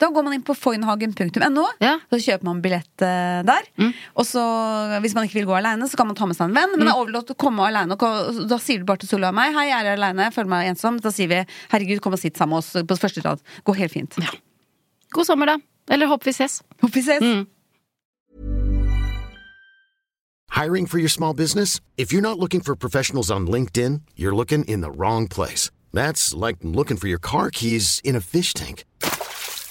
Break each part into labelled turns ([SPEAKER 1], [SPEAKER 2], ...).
[SPEAKER 1] Da går man inn på foynhagen.no,
[SPEAKER 2] Ja.
[SPEAKER 1] så kjøper man billett eh, der. Og så, hvis man ikke vil gå aleine, så kan man ta med seg en venn. Men det er overlatt å komme aleine. Da sier du bare til Solveig og meg 'Hei, jeg er aleine, føler meg ensom'. Da sier vi 'Herregud, kom og sitt sammen med oss på første rad'. Går helt fint.
[SPEAKER 2] God sommer, da. Eller håper vi ses.
[SPEAKER 1] Håper vi ses.
[SPEAKER 3] Hiring for your small business? If you're not looking for professionals on LinkedIn, you're looking in the wrong place. That's like looking for your car keys in a fish tank.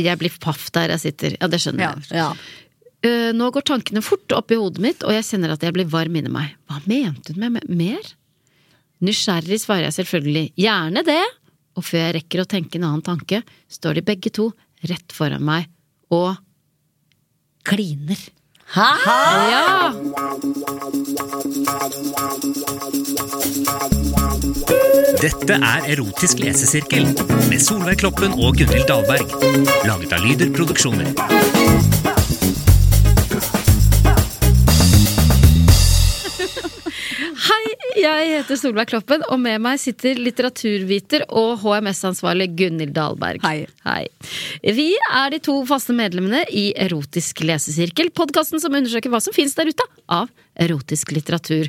[SPEAKER 2] Jeg blir paff der jeg sitter. Ja, det skjønner
[SPEAKER 1] Ja.
[SPEAKER 2] jeg. Eh, nå går tankene fort opp i hodet mitt, og jeg kjenner at jeg blir varm inni meg. Hva mente hun med me- mer? Nysgjerrig svarer jeg selvfølgelig gjerne det, og før jeg rekker å tenke en annen tanke, står de begge to rett foran meg og kliner. Hæ?! Ja!
[SPEAKER 4] Dette er Erotisk lesesirkel med Solveig Kloppen og Gunhild Dahlberg. Laget av Lyder Produksjoner.
[SPEAKER 2] Hei, jeg heter Solveig Kloppen, og med meg sitter litteraturviter og HMS-ansvarlig Gunhild Dahlberg.
[SPEAKER 1] Hei.
[SPEAKER 2] Vi er de to faste medlemmene i Erotisk lesesirkel, podkasten som undersøker hva som finnes der ute av erotisk litteratur.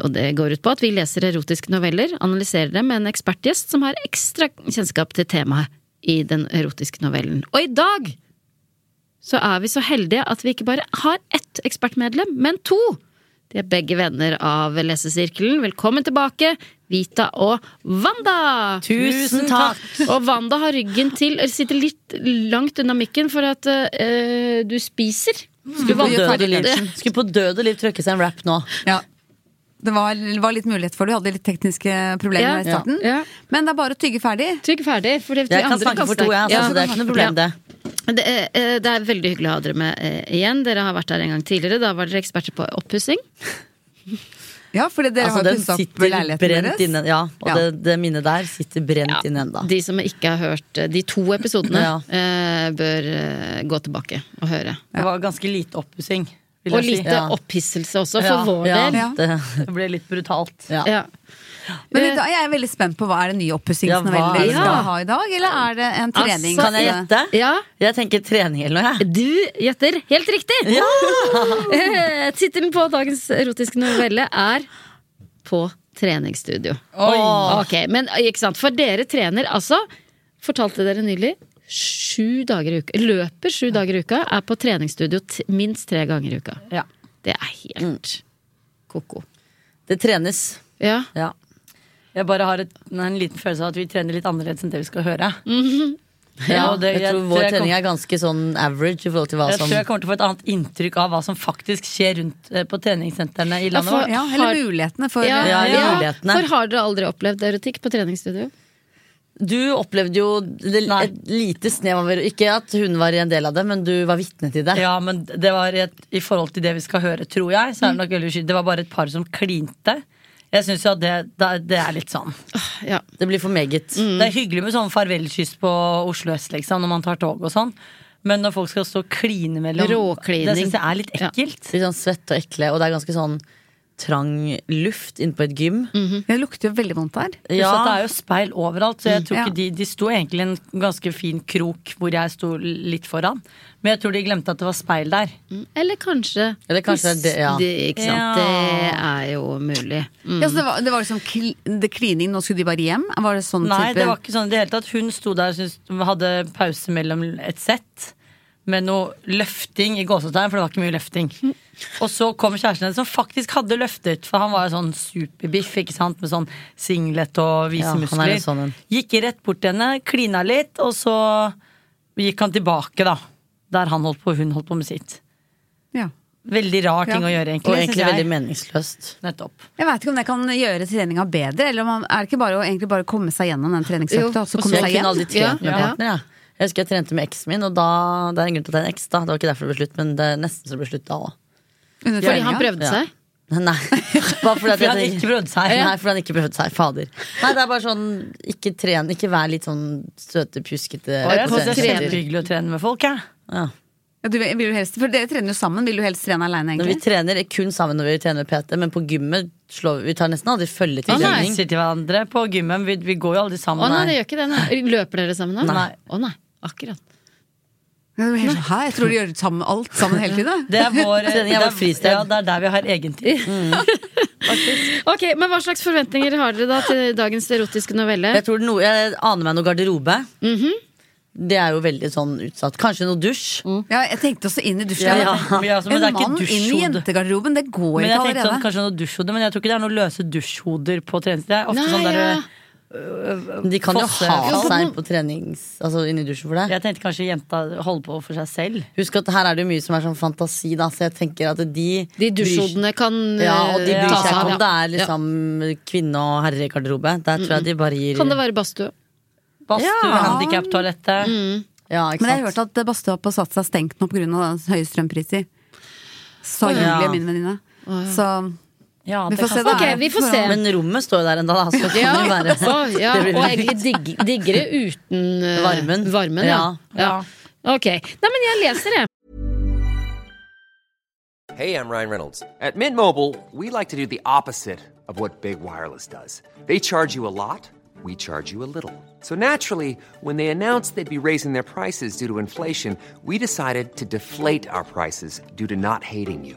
[SPEAKER 2] Og det går ut på at vi leser erotiske noveller, analyserer dem med en ekspertgjest som har ekstra kjennskap til temaet i den erotiske novellen. Og i dag så er vi så heldige at vi ikke bare har ett ekspertmedlem, men to. De er begge venner av Lesesirkelen. Velkommen tilbake, Vita og Wanda!
[SPEAKER 5] Tusen takk!
[SPEAKER 2] Og Wanda har ryggen til, eller sitter litt langt unna mikken for at eh, du spiser.
[SPEAKER 5] Skulle på
[SPEAKER 2] Du
[SPEAKER 5] død
[SPEAKER 2] valgte
[SPEAKER 5] og liv,
[SPEAKER 2] det.
[SPEAKER 5] skulle på død og liv trøkke seg en rap nå.
[SPEAKER 1] Ja. Det var, var litt mulighet for det. Du hadde litt tekniske
[SPEAKER 2] Ja,
[SPEAKER 1] problemer her i starten.
[SPEAKER 2] ja.
[SPEAKER 1] Men det er bare å tygge ferdig.
[SPEAKER 2] Trygg ferdig. For det, de
[SPEAKER 5] Jeg kan
[SPEAKER 2] andre
[SPEAKER 5] snakke for to, jeg.
[SPEAKER 2] snakke.
[SPEAKER 5] Altså,
[SPEAKER 2] Ja.
[SPEAKER 5] det er ikke noe problem, det.
[SPEAKER 2] Det er, eh, det er veldig hyggelig å ha dere med eh, igjen. Dere har vært her en gang tidligere. Da var dere eksperter på oppussing.
[SPEAKER 1] Ja, for dere
[SPEAKER 5] Altså,
[SPEAKER 1] har jo
[SPEAKER 5] den
[SPEAKER 1] pussa opp
[SPEAKER 5] sitter
[SPEAKER 1] leiligheten
[SPEAKER 5] brent
[SPEAKER 1] deres.
[SPEAKER 5] inne. Ja, og
[SPEAKER 1] Ja.
[SPEAKER 5] Det, det minnet der sitter brent inne ennå.
[SPEAKER 2] De som ikke har hørt eh, de to episodene,
[SPEAKER 5] Ja.
[SPEAKER 2] eh, bør eh, gå tilbake og høre.
[SPEAKER 6] Det var ganske lite oppussing. vil
[SPEAKER 2] Og
[SPEAKER 6] jeg si.
[SPEAKER 2] lite
[SPEAKER 5] Ja.
[SPEAKER 2] opphisselse også, for vår
[SPEAKER 5] ja,
[SPEAKER 2] del.
[SPEAKER 1] Ja.
[SPEAKER 5] Det,
[SPEAKER 6] Det ble litt brutalt.
[SPEAKER 5] ja.
[SPEAKER 2] Ja.
[SPEAKER 1] Men i dag, jeg er veldig spent på hva er det nye oppussingsnovellen
[SPEAKER 5] Ja, hva
[SPEAKER 2] det?
[SPEAKER 1] dere skal ha
[SPEAKER 5] er Altså,
[SPEAKER 1] i dag? Eller er det en trening?
[SPEAKER 5] Kan jeg gjette?
[SPEAKER 2] Ja,
[SPEAKER 5] Jeg tenker trening eller noe, jeg.
[SPEAKER 2] du gjetter helt riktig! Eh, Tittelen på dagens erotiske novelle er På treningsstudio.
[SPEAKER 5] Åh.
[SPEAKER 2] Ok, men eh, ikke sant, For dere trener altså, fortalte dere nylig, sju dager i uka. Løper sju dager i uka, er på treningsstudio t minst tre ganger i uka.
[SPEAKER 6] Ja.
[SPEAKER 2] Det er helt ko-ko.
[SPEAKER 5] Det trenes.
[SPEAKER 2] Ja.
[SPEAKER 5] Ja.
[SPEAKER 6] Jeg bare har et, nei, en liten følelse av at vi trener litt annerledes enn det vi skal høre.
[SPEAKER 5] Ja,
[SPEAKER 6] og det-
[SPEAKER 5] jeg tror
[SPEAKER 6] tror
[SPEAKER 5] vår
[SPEAKER 6] jeg kom-
[SPEAKER 5] trening er ganske sånn average i forhold til hva
[SPEAKER 6] Jeg
[SPEAKER 5] som
[SPEAKER 6] tror jeg kommer til å få et annet inntrykk av hva som faktisk skjer rundt eh, på treningssentrene i landet
[SPEAKER 2] for-
[SPEAKER 6] vårt.
[SPEAKER 1] Ja, eller mulighetene for
[SPEAKER 2] Ja,
[SPEAKER 5] Ja,
[SPEAKER 2] ja.
[SPEAKER 5] mulighetene.
[SPEAKER 2] For har dere aldri opplevd erotikk på treningsstudio?
[SPEAKER 5] Du opplevde jo det,
[SPEAKER 6] Nei.
[SPEAKER 5] et lite snev av Ikke at hun var en del av det, men du var vitne til det.
[SPEAKER 6] Ja, men det var et, I forhold til det vi skal høre, tror jeg, så er det nok veldig uskyldig. Det var bare et par som klinte. Jeg syns jo at det, det, er- det er litt sånn.
[SPEAKER 2] Ja.
[SPEAKER 5] Det blir for meget.
[SPEAKER 6] Det er hyggelig med sånn farvelkyss på Oslo øst, liksom, når man tar tog og sånn. Men når folk skal stå og kline mellom
[SPEAKER 2] Råklining.
[SPEAKER 6] Det syns jeg er litt
[SPEAKER 2] Ja.
[SPEAKER 6] ekkelt.
[SPEAKER 5] Litt sånn svett og ekle, og det er ganske sånn trang luft inne på et gym.
[SPEAKER 1] Det lukter jo veldig vondt der.
[SPEAKER 6] Pluss
[SPEAKER 5] Ja.
[SPEAKER 6] at Mm. det er jo speil overalt, så
[SPEAKER 5] Mm.
[SPEAKER 6] jeg tror
[SPEAKER 1] Ja.
[SPEAKER 6] ikke de, de sto egentlig i en ganske fin krok hvor jeg sto litt foran. Men jeg tror de glemte at det var speil der.
[SPEAKER 2] Eller kanskje
[SPEAKER 5] Eller kanskje det, ja.
[SPEAKER 2] det, Ikke sant.
[SPEAKER 6] Ja.
[SPEAKER 2] Det er jo mulig. Mm.
[SPEAKER 1] Ja, så det, var, det var liksom kl det klining, nå skulle de bare hjem? Var det sånn type
[SPEAKER 6] Nei, det var ikke sånn i det hele tatt. Hun sto der og syntes hun hadde pause mellom et sett med noe løfting i gåsetegn, for det var ikke mye løfting. Og så kom kjæresten hennes som faktisk hadde løftet, for han var jo sånn superbiff, ikke sant, med sånn singlet og
[SPEAKER 5] Ja,
[SPEAKER 6] vise
[SPEAKER 5] han er
[SPEAKER 6] muskler.
[SPEAKER 5] en sånn en.
[SPEAKER 6] Gikk rett bort til henne, klina litt, og så gikk han tilbake, da. Der han holdt på, og hun holdt på med sitt.
[SPEAKER 1] ja.
[SPEAKER 6] Veldig rar ting
[SPEAKER 1] Ja.
[SPEAKER 6] å gjøre, egentlig.
[SPEAKER 5] Og egentlig
[SPEAKER 6] synes jeg.
[SPEAKER 5] veldig meningsløst.
[SPEAKER 6] Nettopp.
[SPEAKER 1] Jeg veit ikke om det kan gjøre treninga bedre, eller om man, er det ikke bare å egentlig bare komme seg gjennom den treningsøkta,
[SPEAKER 2] Jo,
[SPEAKER 1] og så
[SPEAKER 2] og
[SPEAKER 1] komme
[SPEAKER 2] så
[SPEAKER 1] seg
[SPEAKER 5] Jeg kunne
[SPEAKER 1] hjem?
[SPEAKER 5] aldri trent
[SPEAKER 2] Ja,
[SPEAKER 5] med
[SPEAKER 2] ja.
[SPEAKER 5] partner, jeg. Jeg husker jeg trente med eksen min, og da, det er en grunn til at det er en eks, da. Det var ikke derfor det ble slutt, men det er nesten så det ble slutt da òg.
[SPEAKER 1] Under
[SPEAKER 2] Fordi han
[SPEAKER 1] treninga?
[SPEAKER 2] prøvde
[SPEAKER 5] Ja.
[SPEAKER 2] seg.
[SPEAKER 5] Nei. Bare fordi, at
[SPEAKER 6] Fordi
[SPEAKER 5] jeg
[SPEAKER 6] han
[SPEAKER 5] tenker-
[SPEAKER 6] ikke prøvde seg.
[SPEAKER 5] Nei, fordi han ikke prøvde seg. Fader. Nei, det er bare sånn, ikke tren, ikke vær litt sånn søte, pjuskete.
[SPEAKER 6] Og jeg synes det er
[SPEAKER 2] trener.
[SPEAKER 6] kjempehyggelig å trene med folk, jeg.
[SPEAKER 5] Ja.
[SPEAKER 1] Ja, du, vil du helst, for dere trener jo sammen, vil du helst trene aleine,
[SPEAKER 5] Når vi
[SPEAKER 1] egentlig?
[SPEAKER 5] trener er kun sammen når vi trener med PT, men på gymmet slår vi, vi tar nesten aldri følge til
[SPEAKER 2] Å, nei.
[SPEAKER 5] trening.
[SPEAKER 6] hilser til hverandre på gymmen. Vi, vi går jo aldri
[SPEAKER 2] Å
[SPEAKER 6] sammen.
[SPEAKER 2] nei, det
[SPEAKER 6] nei.
[SPEAKER 2] gjør ikke det. Nei. Løper dere sammen da?
[SPEAKER 6] Nei.
[SPEAKER 2] Å nei, akkurat.
[SPEAKER 1] Ja, du er helt sånn, Hæ, jeg tror de gjør sammen, alt sammen hele tiden.
[SPEAKER 6] Det er vår eh,
[SPEAKER 5] Trening er
[SPEAKER 6] det
[SPEAKER 5] vårt fristed.
[SPEAKER 6] Ja, det er der vi har egen tid.
[SPEAKER 2] Ok, men Hva slags forventninger har dere da til dagens erotiske novelle?
[SPEAKER 5] Jeg, tror noe, jeg aner meg noe garderobe.
[SPEAKER 6] Mhm.
[SPEAKER 5] Det er jo veldig sånn utsatt. Kanskje noe dusj.
[SPEAKER 6] Mm.
[SPEAKER 1] Ja, jeg tenkte også inn i dusjen. jeg
[SPEAKER 6] Ja,
[SPEAKER 1] bare,
[SPEAKER 6] men ja, altså, men
[SPEAKER 1] en
[SPEAKER 6] det er ikke
[SPEAKER 1] mann inn i
[SPEAKER 6] dusjhode.
[SPEAKER 1] jentegarderoben, det går
[SPEAKER 6] Men
[SPEAKER 1] ikke
[SPEAKER 6] jeg tenkte sånn,
[SPEAKER 1] allerede.
[SPEAKER 6] kanskje noe dusjhode, men jeg tror ikke det er noen løse dusjhoder på treningssted. Det er ofte sånn der,
[SPEAKER 2] ja.
[SPEAKER 5] Men De kan
[SPEAKER 6] Fosse-
[SPEAKER 5] jo ha
[SPEAKER 2] Fosse-
[SPEAKER 5] seg på trenings Altså inni dusjen for det.
[SPEAKER 6] Jeg tenkte kanskje jenta holder på for seg selv.
[SPEAKER 5] Husk at her er det jo mye som er sånn fantasi, da, så jeg tenker at de
[SPEAKER 2] De dusjhodene kan
[SPEAKER 5] bryr- Ja, og de
[SPEAKER 2] eh,
[SPEAKER 5] bryr
[SPEAKER 2] ta
[SPEAKER 5] seg
[SPEAKER 2] av, ja.
[SPEAKER 5] ikke om det er
[SPEAKER 2] Ja. Mm.
[SPEAKER 5] liksom kvinne- og herregarderobe. Der tror jeg de bare gir
[SPEAKER 2] Kan det være badstue?
[SPEAKER 6] Badstue,
[SPEAKER 1] Ja.
[SPEAKER 6] handikaptoalettet.
[SPEAKER 2] Mm.
[SPEAKER 5] Ja, ikke
[SPEAKER 1] Men jeg
[SPEAKER 5] sant?
[SPEAKER 1] har hørt at badstua på Sats er stengt nå pga. høye strømpriser. Sa
[SPEAKER 5] ja.
[SPEAKER 1] Julie, min venninne. Så
[SPEAKER 6] Ja,
[SPEAKER 1] Vi
[SPEAKER 6] det
[SPEAKER 1] får se,
[SPEAKER 6] kan-
[SPEAKER 1] da.
[SPEAKER 2] Ok, vi får se.
[SPEAKER 5] Men rommet står jo der ennå, da. Så kan det jo være
[SPEAKER 2] Å, ja.
[SPEAKER 5] Det blir
[SPEAKER 2] Og
[SPEAKER 5] litt-
[SPEAKER 2] egentlig digg, digger det uten eh,
[SPEAKER 5] Varmen.
[SPEAKER 2] varmen ja. Ja.
[SPEAKER 6] Ja.
[SPEAKER 2] Ok. Nei, men jeg leser, jeg.
[SPEAKER 7] Hey, I'm Ryan Reynolds. At Mint Mobile, we like to do the opposite of what Big Wireless does. They charge you a lot, we charge you a little. So naturally, when they announced they'd be raising their prices due to inflation, we decided to deflate our prices due to not hating you.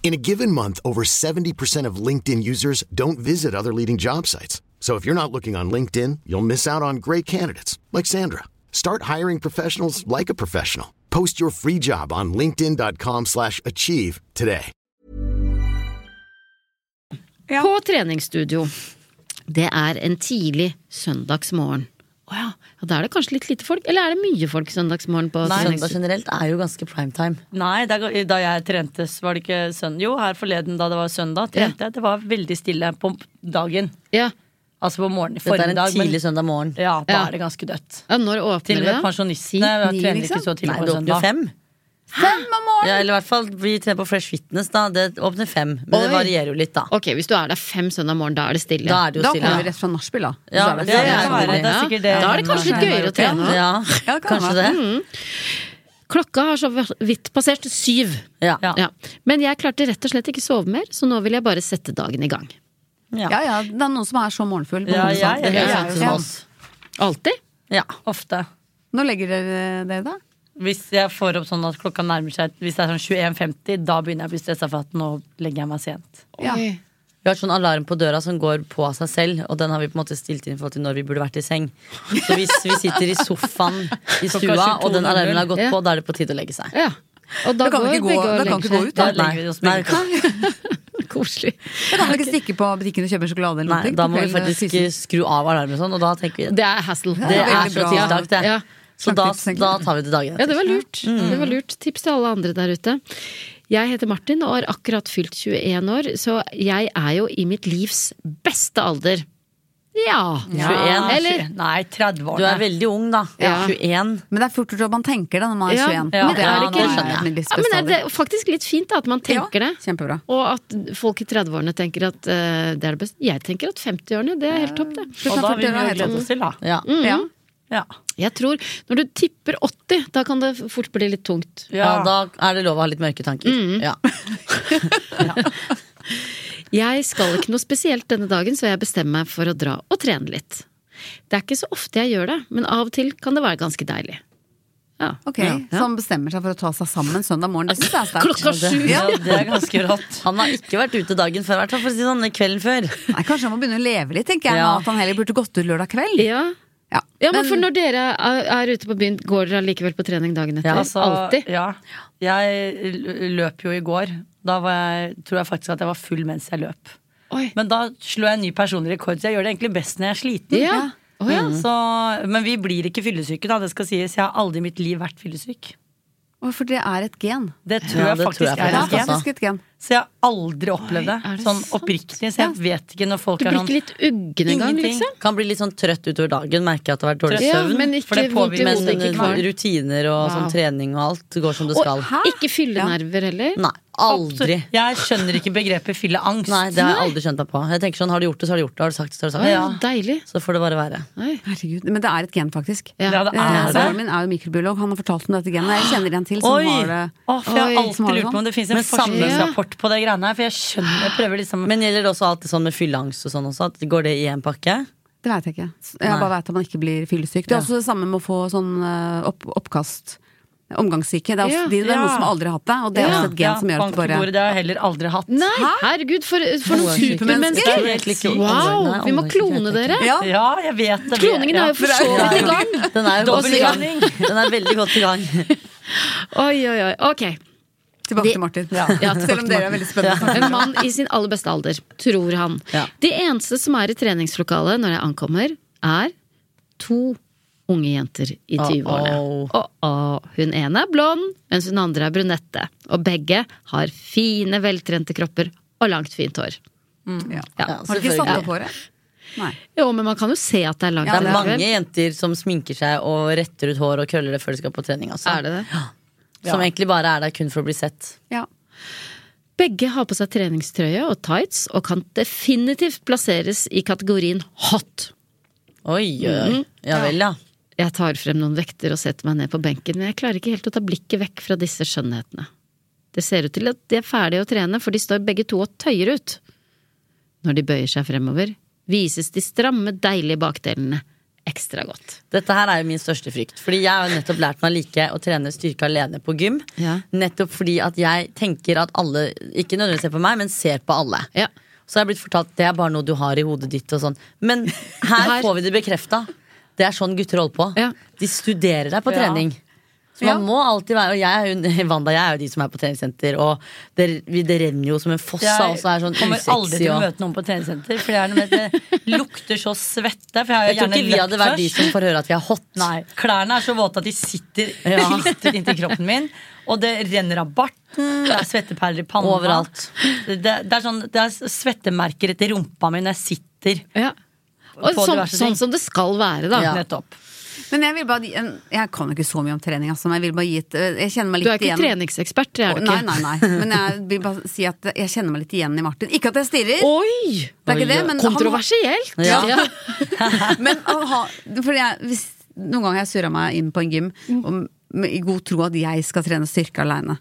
[SPEAKER 3] In a given month, over 70% of LinkedIn users don't visit other leading job sites. So if you're not looking on LinkedIn, you'll miss out on great candidates like Sandra. Start hiring professionals like a professional. Post your free job on linkedin.com/achieve slash achieve today.
[SPEAKER 1] Ja.
[SPEAKER 2] På treningsstudio. Det er en tidlig søndagsmorgen. Å ja. ja, da er det kanskje litt lite folk? Eller er det mye folk søndagsmorgen på
[SPEAKER 5] Nei,
[SPEAKER 2] treningsstudio?
[SPEAKER 5] Søndag generelt er jo ganske prime time.
[SPEAKER 6] Nei, da, da jeg trente, så var det ikke søndag. Jo, her forleden da det var søndag, trente jeg. Det var veldig stille på dagen.
[SPEAKER 2] Ja.
[SPEAKER 6] Altså på morgenen.
[SPEAKER 5] Dette er en
[SPEAKER 6] formiddag, men-
[SPEAKER 5] tidlig søndag morgen.
[SPEAKER 6] Ja, da
[SPEAKER 2] Ja.
[SPEAKER 6] er det ganske dødt.
[SPEAKER 2] ja, når
[SPEAKER 6] Til
[SPEAKER 2] åpner
[SPEAKER 6] og
[SPEAKER 2] det?
[SPEAKER 6] med
[SPEAKER 2] da?
[SPEAKER 6] pensjonistene
[SPEAKER 1] Ti,
[SPEAKER 6] trener
[SPEAKER 1] liksom?
[SPEAKER 6] ikke så tidlig
[SPEAKER 5] Nei,
[SPEAKER 6] på
[SPEAKER 5] det åpner jo
[SPEAKER 6] søndag.
[SPEAKER 5] fem.
[SPEAKER 1] Fem om morgenen!
[SPEAKER 5] Ja, eller i hvert fall vi trener på Fresh Fitness, da. Det åpner fem. Men det
[SPEAKER 2] Oi.
[SPEAKER 5] varierer jo litt, da.
[SPEAKER 2] Ok, Hvis du er der fem søndag morgen, da er det stille.
[SPEAKER 5] Da er det jo
[SPEAKER 1] Da
[SPEAKER 5] stille.
[SPEAKER 1] kommer vi rett fra nachspiel, da.
[SPEAKER 5] Ja,
[SPEAKER 1] Så er
[SPEAKER 5] det
[SPEAKER 1] ferdig.
[SPEAKER 5] er
[SPEAKER 1] Kan
[SPEAKER 5] det.
[SPEAKER 1] være.
[SPEAKER 6] Det er sikkert det.
[SPEAKER 2] Da er det kanskje litt gøyere å trene.
[SPEAKER 5] Ja,
[SPEAKER 1] Ja, det kan
[SPEAKER 5] kanskje det.
[SPEAKER 1] være.
[SPEAKER 2] Klokka har så vidt passert syv.
[SPEAKER 5] Ja.
[SPEAKER 6] Ja.
[SPEAKER 2] Ja. Men jeg klarte rett og slett ikke sove mer, så nå vil jeg bare sette dagen i gang.
[SPEAKER 1] Ja, ja, det er noen som er så morgenfull. på
[SPEAKER 6] Ja,
[SPEAKER 1] morgenen, sant?
[SPEAKER 6] jeg er
[SPEAKER 5] Det
[SPEAKER 6] helt
[SPEAKER 1] Ja,
[SPEAKER 5] høres ut
[SPEAKER 1] ja.
[SPEAKER 5] som oss.
[SPEAKER 2] Alltid.
[SPEAKER 5] Ja.
[SPEAKER 6] Ofte.
[SPEAKER 1] Nå legger dere det, da?
[SPEAKER 6] Hvis jeg får opp sånn at klokka nærmer seg Hvis det er sånn 21.50, da begynner jeg å bli stressa for at nå legger jeg meg sent.
[SPEAKER 1] Ja.
[SPEAKER 2] Oi.
[SPEAKER 5] Ja, Vi har sånn alarm på døra som går på av seg selv, og den har vi på en måte stilt inn i forhold til når vi burde vært i seng. Så hvis vi sitter i sofaen i
[SPEAKER 6] Klokka
[SPEAKER 5] stua, og den
[SPEAKER 6] 22.00,
[SPEAKER 5] alarmen har gått
[SPEAKER 2] ja.
[SPEAKER 5] på, da er det på tide å legge seg.
[SPEAKER 2] Ja. Og da,
[SPEAKER 1] Da kan vi
[SPEAKER 2] går
[SPEAKER 1] ikke gå-
[SPEAKER 2] begge og
[SPEAKER 1] da kan
[SPEAKER 2] legger
[SPEAKER 1] vi ikke gå
[SPEAKER 2] seg.
[SPEAKER 1] ut, da.
[SPEAKER 2] Ja,
[SPEAKER 6] legger vi oss med
[SPEAKER 5] Nei,
[SPEAKER 2] Koselig.
[SPEAKER 1] Da kan vi ikke stikke på butikken og kjøpe en sjokolade eller
[SPEAKER 5] Nei,
[SPEAKER 1] noe.
[SPEAKER 5] da må vi
[SPEAKER 1] eh,
[SPEAKER 5] faktisk skru av alarmen og sånn, og da tenker vi
[SPEAKER 2] Det er hassle.
[SPEAKER 1] Ja,
[SPEAKER 5] Det
[SPEAKER 1] det er
[SPEAKER 5] er
[SPEAKER 1] veldig
[SPEAKER 5] så
[SPEAKER 1] bra.
[SPEAKER 5] tiltak, det.
[SPEAKER 2] Ja.
[SPEAKER 5] Så da,
[SPEAKER 1] Slagtips, tenker
[SPEAKER 5] da
[SPEAKER 1] jeg.
[SPEAKER 5] tar vi det dagen
[SPEAKER 2] Ja, det
[SPEAKER 5] etter.
[SPEAKER 2] var lurt. Det var lurt. Tips til alle andre der ute. Jeg heter Martin og har akkurat fylt 21 år, så jeg er jo i mitt livs beste alder. Ja.
[SPEAKER 5] 21,
[SPEAKER 2] Eller?
[SPEAKER 6] Nei, 30 år.
[SPEAKER 5] Du er veldig ung, da.
[SPEAKER 2] Ja.
[SPEAKER 5] 21.
[SPEAKER 1] Men det er fort gjort at man tenker det når man er
[SPEAKER 2] Ja, men
[SPEAKER 1] 21. det
[SPEAKER 2] er det ikke-
[SPEAKER 1] det er min livs
[SPEAKER 2] ja, men
[SPEAKER 1] beste
[SPEAKER 2] er det faktisk litt fint da, at man
[SPEAKER 1] alder.
[SPEAKER 2] tenker
[SPEAKER 1] Ja,
[SPEAKER 2] det?
[SPEAKER 1] Kjempebra.
[SPEAKER 2] Og at folk i 30-årene tenker at eh, det er det beste. Jeg tenker at 50-årene, det er helt topp, det.
[SPEAKER 6] Og da
[SPEAKER 1] Snart
[SPEAKER 6] vil vi jo
[SPEAKER 1] 40 år,
[SPEAKER 6] glede oss til, da.
[SPEAKER 5] Ja.
[SPEAKER 1] Ja.
[SPEAKER 6] Ja.
[SPEAKER 2] Jeg tror når du tipper 80, da kan det fort bli litt tungt.
[SPEAKER 5] ja, da er det lov å ha litt mørke tanker. Ja.
[SPEAKER 2] Jeg skal ikke noe spesielt denne dagen, så jeg bestemmer meg for å dra og trene litt. Det er ikke så ofte jeg gjør det, men av og til kan det være ganske deilig. Ja.
[SPEAKER 1] Ok,
[SPEAKER 2] Ja.
[SPEAKER 1] Så han bestemmer seg for å ta seg sammen søndag morgen. Det synes jeg er sterkt.
[SPEAKER 2] Klokka sju!
[SPEAKER 6] Ja, det er ganske rått.
[SPEAKER 5] Han har ikke vært ute dagen før, i hvert fall for å si det sånn, kvelden før.
[SPEAKER 1] Nei, Kanskje han må begynne å leve litt, tenker jeg.
[SPEAKER 5] Ja.
[SPEAKER 1] nå, At han heller burde gått ut lørdag kveld.
[SPEAKER 2] Ja.
[SPEAKER 1] Ja.
[SPEAKER 2] ja, men for når dere er, er ute på byen, går dere allikevel på trening dagen etter?
[SPEAKER 6] Altså,
[SPEAKER 2] Alltid?
[SPEAKER 6] Ja. Jeg l- løp jo i går. Da var jeg, tror jeg faktisk at jeg var full mens jeg løp.
[SPEAKER 2] Oi.
[SPEAKER 6] Men da slår jeg en ny personlig rekord, så jeg gjør det egentlig best når jeg er sliten. Mm.
[SPEAKER 2] Ja. Å, ja.
[SPEAKER 6] Så, men vi blir ikke fyllesyke, da. Det skal sies. Jeg har aldri i mitt liv vært fyllesyk.
[SPEAKER 1] Å, For det er et gen.
[SPEAKER 6] Det tror
[SPEAKER 5] Ja,
[SPEAKER 6] jeg
[SPEAKER 5] det tror
[SPEAKER 6] faktisk
[SPEAKER 5] jeg
[SPEAKER 1] Det
[SPEAKER 6] er
[SPEAKER 1] er
[SPEAKER 6] et gen.
[SPEAKER 1] faktisk et gen.
[SPEAKER 6] Så jeg har aldri opplevd det.
[SPEAKER 2] Oi, er det
[SPEAKER 6] sånn
[SPEAKER 2] sant?
[SPEAKER 6] oppriktig. Så jeg vet ikke når folk
[SPEAKER 2] Du blir
[SPEAKER 6] er
[SPEAKER 2] ikke
[SPEAKER 6] sånn
[SPEAKER 2] litt uggen engang,
[SPEAKER 6] Ingenting.
[SPEAKER 2] liksom?
[SPEAKER 5] Kan bli litt sånn trøtt utover dagen, merker jeg at det har vært dårlig
[SPEAKER 2] Ja,
[SPEAKER 5] søvn.
[SPEAKER 2] men
[SPEAKER 6] for
[SPEAKER 2] ikke vondt
[SPEAKER 6] det
[SPEAKER 2] i
[SPEAKER 6] påvirker-
[SPEAKER 5] Men
[SPEAKER 2] hodet, ikke kvalm.
[SPEAKER 5] rutiner og sånn
[SPEAKER 2] Wow.
[SPEAKER 5] trening og alt går som det skal.
[SPEAKER 2] Og ikke fyllenerver heller?
[SPEAKER 5] Nei, aldri.
[SPEAKER 6] Absolutt. Jeg skjønner ikke begrepet fylleangst.
[SPEAKER 5] Nei, det har jeg aldri skjønt meg på. Jeg tenker sånn, Har du gjort det, så har du gjort det. Har du sagt det, så har du sagt
[SPEAKER 2] Å,
[SPEAKER 5] det.
[SPEAKER 2] ja. Deilig.
[SPEAKER 5] Så får det bare være.
[SPEAKER 2] Nei.
[SPEAKER 1] Herregud, Men det er et gen, faktisk.
[SPEAKER 2] Ja.
[SPEAKER 6] Ja,
[SPEAKER 1] Eh,
[SPEAKER 6] det er det.
[SPEAKER 1] Broren min er jo mikrobiolog, han har fortalt om dette genet. Jeg kjenner en til som
[SPEAKER 6] Oi!
[SPEAKER 1] har det.
[SPEAKER 6] Å, for jeg har
[SPEAKER 1] Oi, som har det
[SPEAKER 6] alltid
[SPEAKER 1] sånn.
[SPEAKER 6] lurt på om det fins en
[SPEAKER 5] Men samme-
[SPEAKER 6] forskningsrapport på det greiene her. For jeg skjønner, jeg prøver liksom
[SPEAKER 5] Men gjelder det også alt det sånn med fylleangst og sånn også? At går det i en pakke?
[SPEAKER 1] Det veit jeg ikke. Jeg bare veit at man ikke blir fyllesyk. Det er også det samme med å få sånn eh, opp, oppkast. Omgangssyke. Det er, også,
[SPEAKER 2] Ja.
[SPEAKER 1] de, det er
[SPEAKER 6] Ja.
[SPEAKER 1] noen som aldri har hatt det, og det er også et gen
[SPEAKER 6] Ja,
[SPEAKER 1] som gjør at
[SPEAKER 6] bank
[SPEAKER 1] det
[SPEAKER 6] på
[SPEAKER 1] bare
[SPEAKER 6] bordet, det har jeg heller aldri hatt.
[SPEAKER 2] Nei, herregud, for, for noen
[SPEAKER 5] Oversiktig.
[SPEAKER 1] Det
[SPEAKER 2] supermennesker!
[SPEAKER 5] er helt ikke-
[SPEAKER 2] Wow, vi må
[SPEAKER 5] Oversiktig,
[SPEAKER 2] klone
[SPEAKER 5] helt
[SPEAKER 2] dere!
[SPEAKER 1] Ja,
[SPEAKER 6] Ja, jeg vet det.
[SPEAKER 2] Kloningen er jo for så
[SPEAKER 5] Ja.
[SPEAKER 2] vidt i gang.
[SPEAKER 5] Den er jo godt i gang.
[SPEAKER 6] Dobbeltlanding.
[SPEAKER 5] Den er veldig godt i gang.
[SPEAKER 2] Oi, oi, oi. Ok.
[SPEAKER 1] tilbake til Martin.
[SPEAKER 2] Ja, tilbake
[SPEAKER 1] Selv om dere er veldig spennende.
[SPEAKER 2] En mann i sin aller beste alder, tror han.
[SPEAKER 5] Ja.
[SPEAKER 2] De eneste som er i treningslokalet når jeg ankommer, er to unge jenter i 20-årene.
[SPEAKER 5] Uh-oh.
[SPEAKER 2] Og og hun ene er blond, mens hun andre er brunette. Og begge har fine, veltrente kropper og langt, fint hår.
[SPEAKER 1] Ja.
[SPEAKER 2] Ja.
[SPEAKER 5] Ja,
[SPEAKER 1] Har du ikke
[SPEAKER 5] selvfølgelig.
[SPEAKER 1] satt opp håret? Nei.
[SPEAKER 2] Jo, men man kan jo se at det er langt.
[SPEAKER 1] Ja,
[SPEAKER 5] Det er
[SPEAKER 2] likevel.
[SPEAKER 5] mange jenter som sminker seg og retter ut hår og køller det før de skal på trening. Altså.
[SPEAKER 2] Er det det?
[SPEAKER 5] Som egentlig bare er der kun for å bli sett.
[SPEAKER 1] Ja.
[SPEAKER 2] Begge har på seg treningstrøye og tights og kan definitivt plasseres i kategorien hot.
[SPEAKER 5] Oi, oi,
[SPEAKER 2] Mm.
[SPEAKER 5] oi. Ja vel, ja.
[SPEAKER 2] Jeg tar frem noen vekter og setter meg ned på benken, men jeg klarer ikke helt å ta blikket vekk fra disse skjønnhetene. Det ser ut til at de er ferdige å trene, for de står begge to og tøyer ut. Når de bøyer seg fremover, vises de stramme, deilige bakdelene ekstra godt.
[SPEAKER 5] Dette her er jo min største frykt. Fordi jeg har jo nettopp lært meg å like å trene styrke alene på gym.
[SPEAKER 2] Ja.
[SPEAKER 5] Nettopp fordi at jeg tenker at alle ikke nødvendigvis ser på meg, men ser på alle.
[SPEAKER 2] Ja.
[SPEAKER 5] Så har jeg blitt fortalt det er bare noe du har i hodet ditt. Og sånn. Men her,
[SPEAKER 2] Her-
[SPEAKER 5] får vi det bekrefta. Det er sånn gutter holder på.
[SPEAKER 2] Ja.
[SPEAKER 5] De studerer deg på trening. Så man må alltid være Og jeg er jo, Wanda, jeg er jo de som er på treningssenter, og det, vi- det renner jo som en foss av oss og er sånn
[SPEAKER 6] kommer aldri
[SPEAKER 5] usexy
[SPEAKER 6] til å
[SPEAKER 5] og
[SPEAKER 6] møte noen på treningssenter, for det, er noe med at det lukter så svette. For jeg har
[SPEAKER 5] Jeg
[SPEAKER 6] jo
[SPEAKER 5] tror
[SPEAKER 6] gjerne
[SPEAKER 5] ikke vi hadde vært de
[SPEAKER 6] løpt først.
[SPEAKER 5] som får høre at vi er hot.
[SPEAKER 6] Nei, Klærne er så våte at de sitter klister inntil kroppen min. Og det renner av barten, det er svetteperler i panna.
[SPEAKER 5] Overalt.
[SPEAKER 6] Det, det, er sånn, det er svettemerker etter rumpa mi når jeg sitter.
[SPEAKER 2] Ja. Og
[SPEAKER 6] På
[SPEAKER 2] sånn,
[SPEAKER 6] diverse ting.
[SPEAKER 2] sånn som det skal være, da.
[SPEAKER 6] Nettopp.
[SPEAKER 1] Men jeg vil bare gi en- Jeg kan jo ikke så mye om trening, altså, men jeg vil bare gi et Jeg kjenner
[SPEAKER 2] Du
[SPEAKER 1] meg litt
[SPEAKER 2] er ikke
[SPEAKER 1] igjen.
[SPEAKER 2] treningsekspert, det er du
[SPEAKER 1] Nei,
[SPEAKER 2] ikke.
[SPEAKER 1] nei, nei. Men jeg vil bare si at jeg kjenner meg litt igjen i Martin. Ikke at jeg stirrer.
[SPEAKER 2] Oi!
[SPEAKER 1] Det er ikke det, men han-
[SPEAKER 2] Kontroversielt!
[SPEAKER 5] Ja.
[SPEAKER 1] Men å ha, for jeg, hvis, noen ganger har jeg surra
[SPEAKER 2] Mm.
[SPEAKER 1] meg inn på en gym om, med, i god tro at jeg skal trene styrke aleine.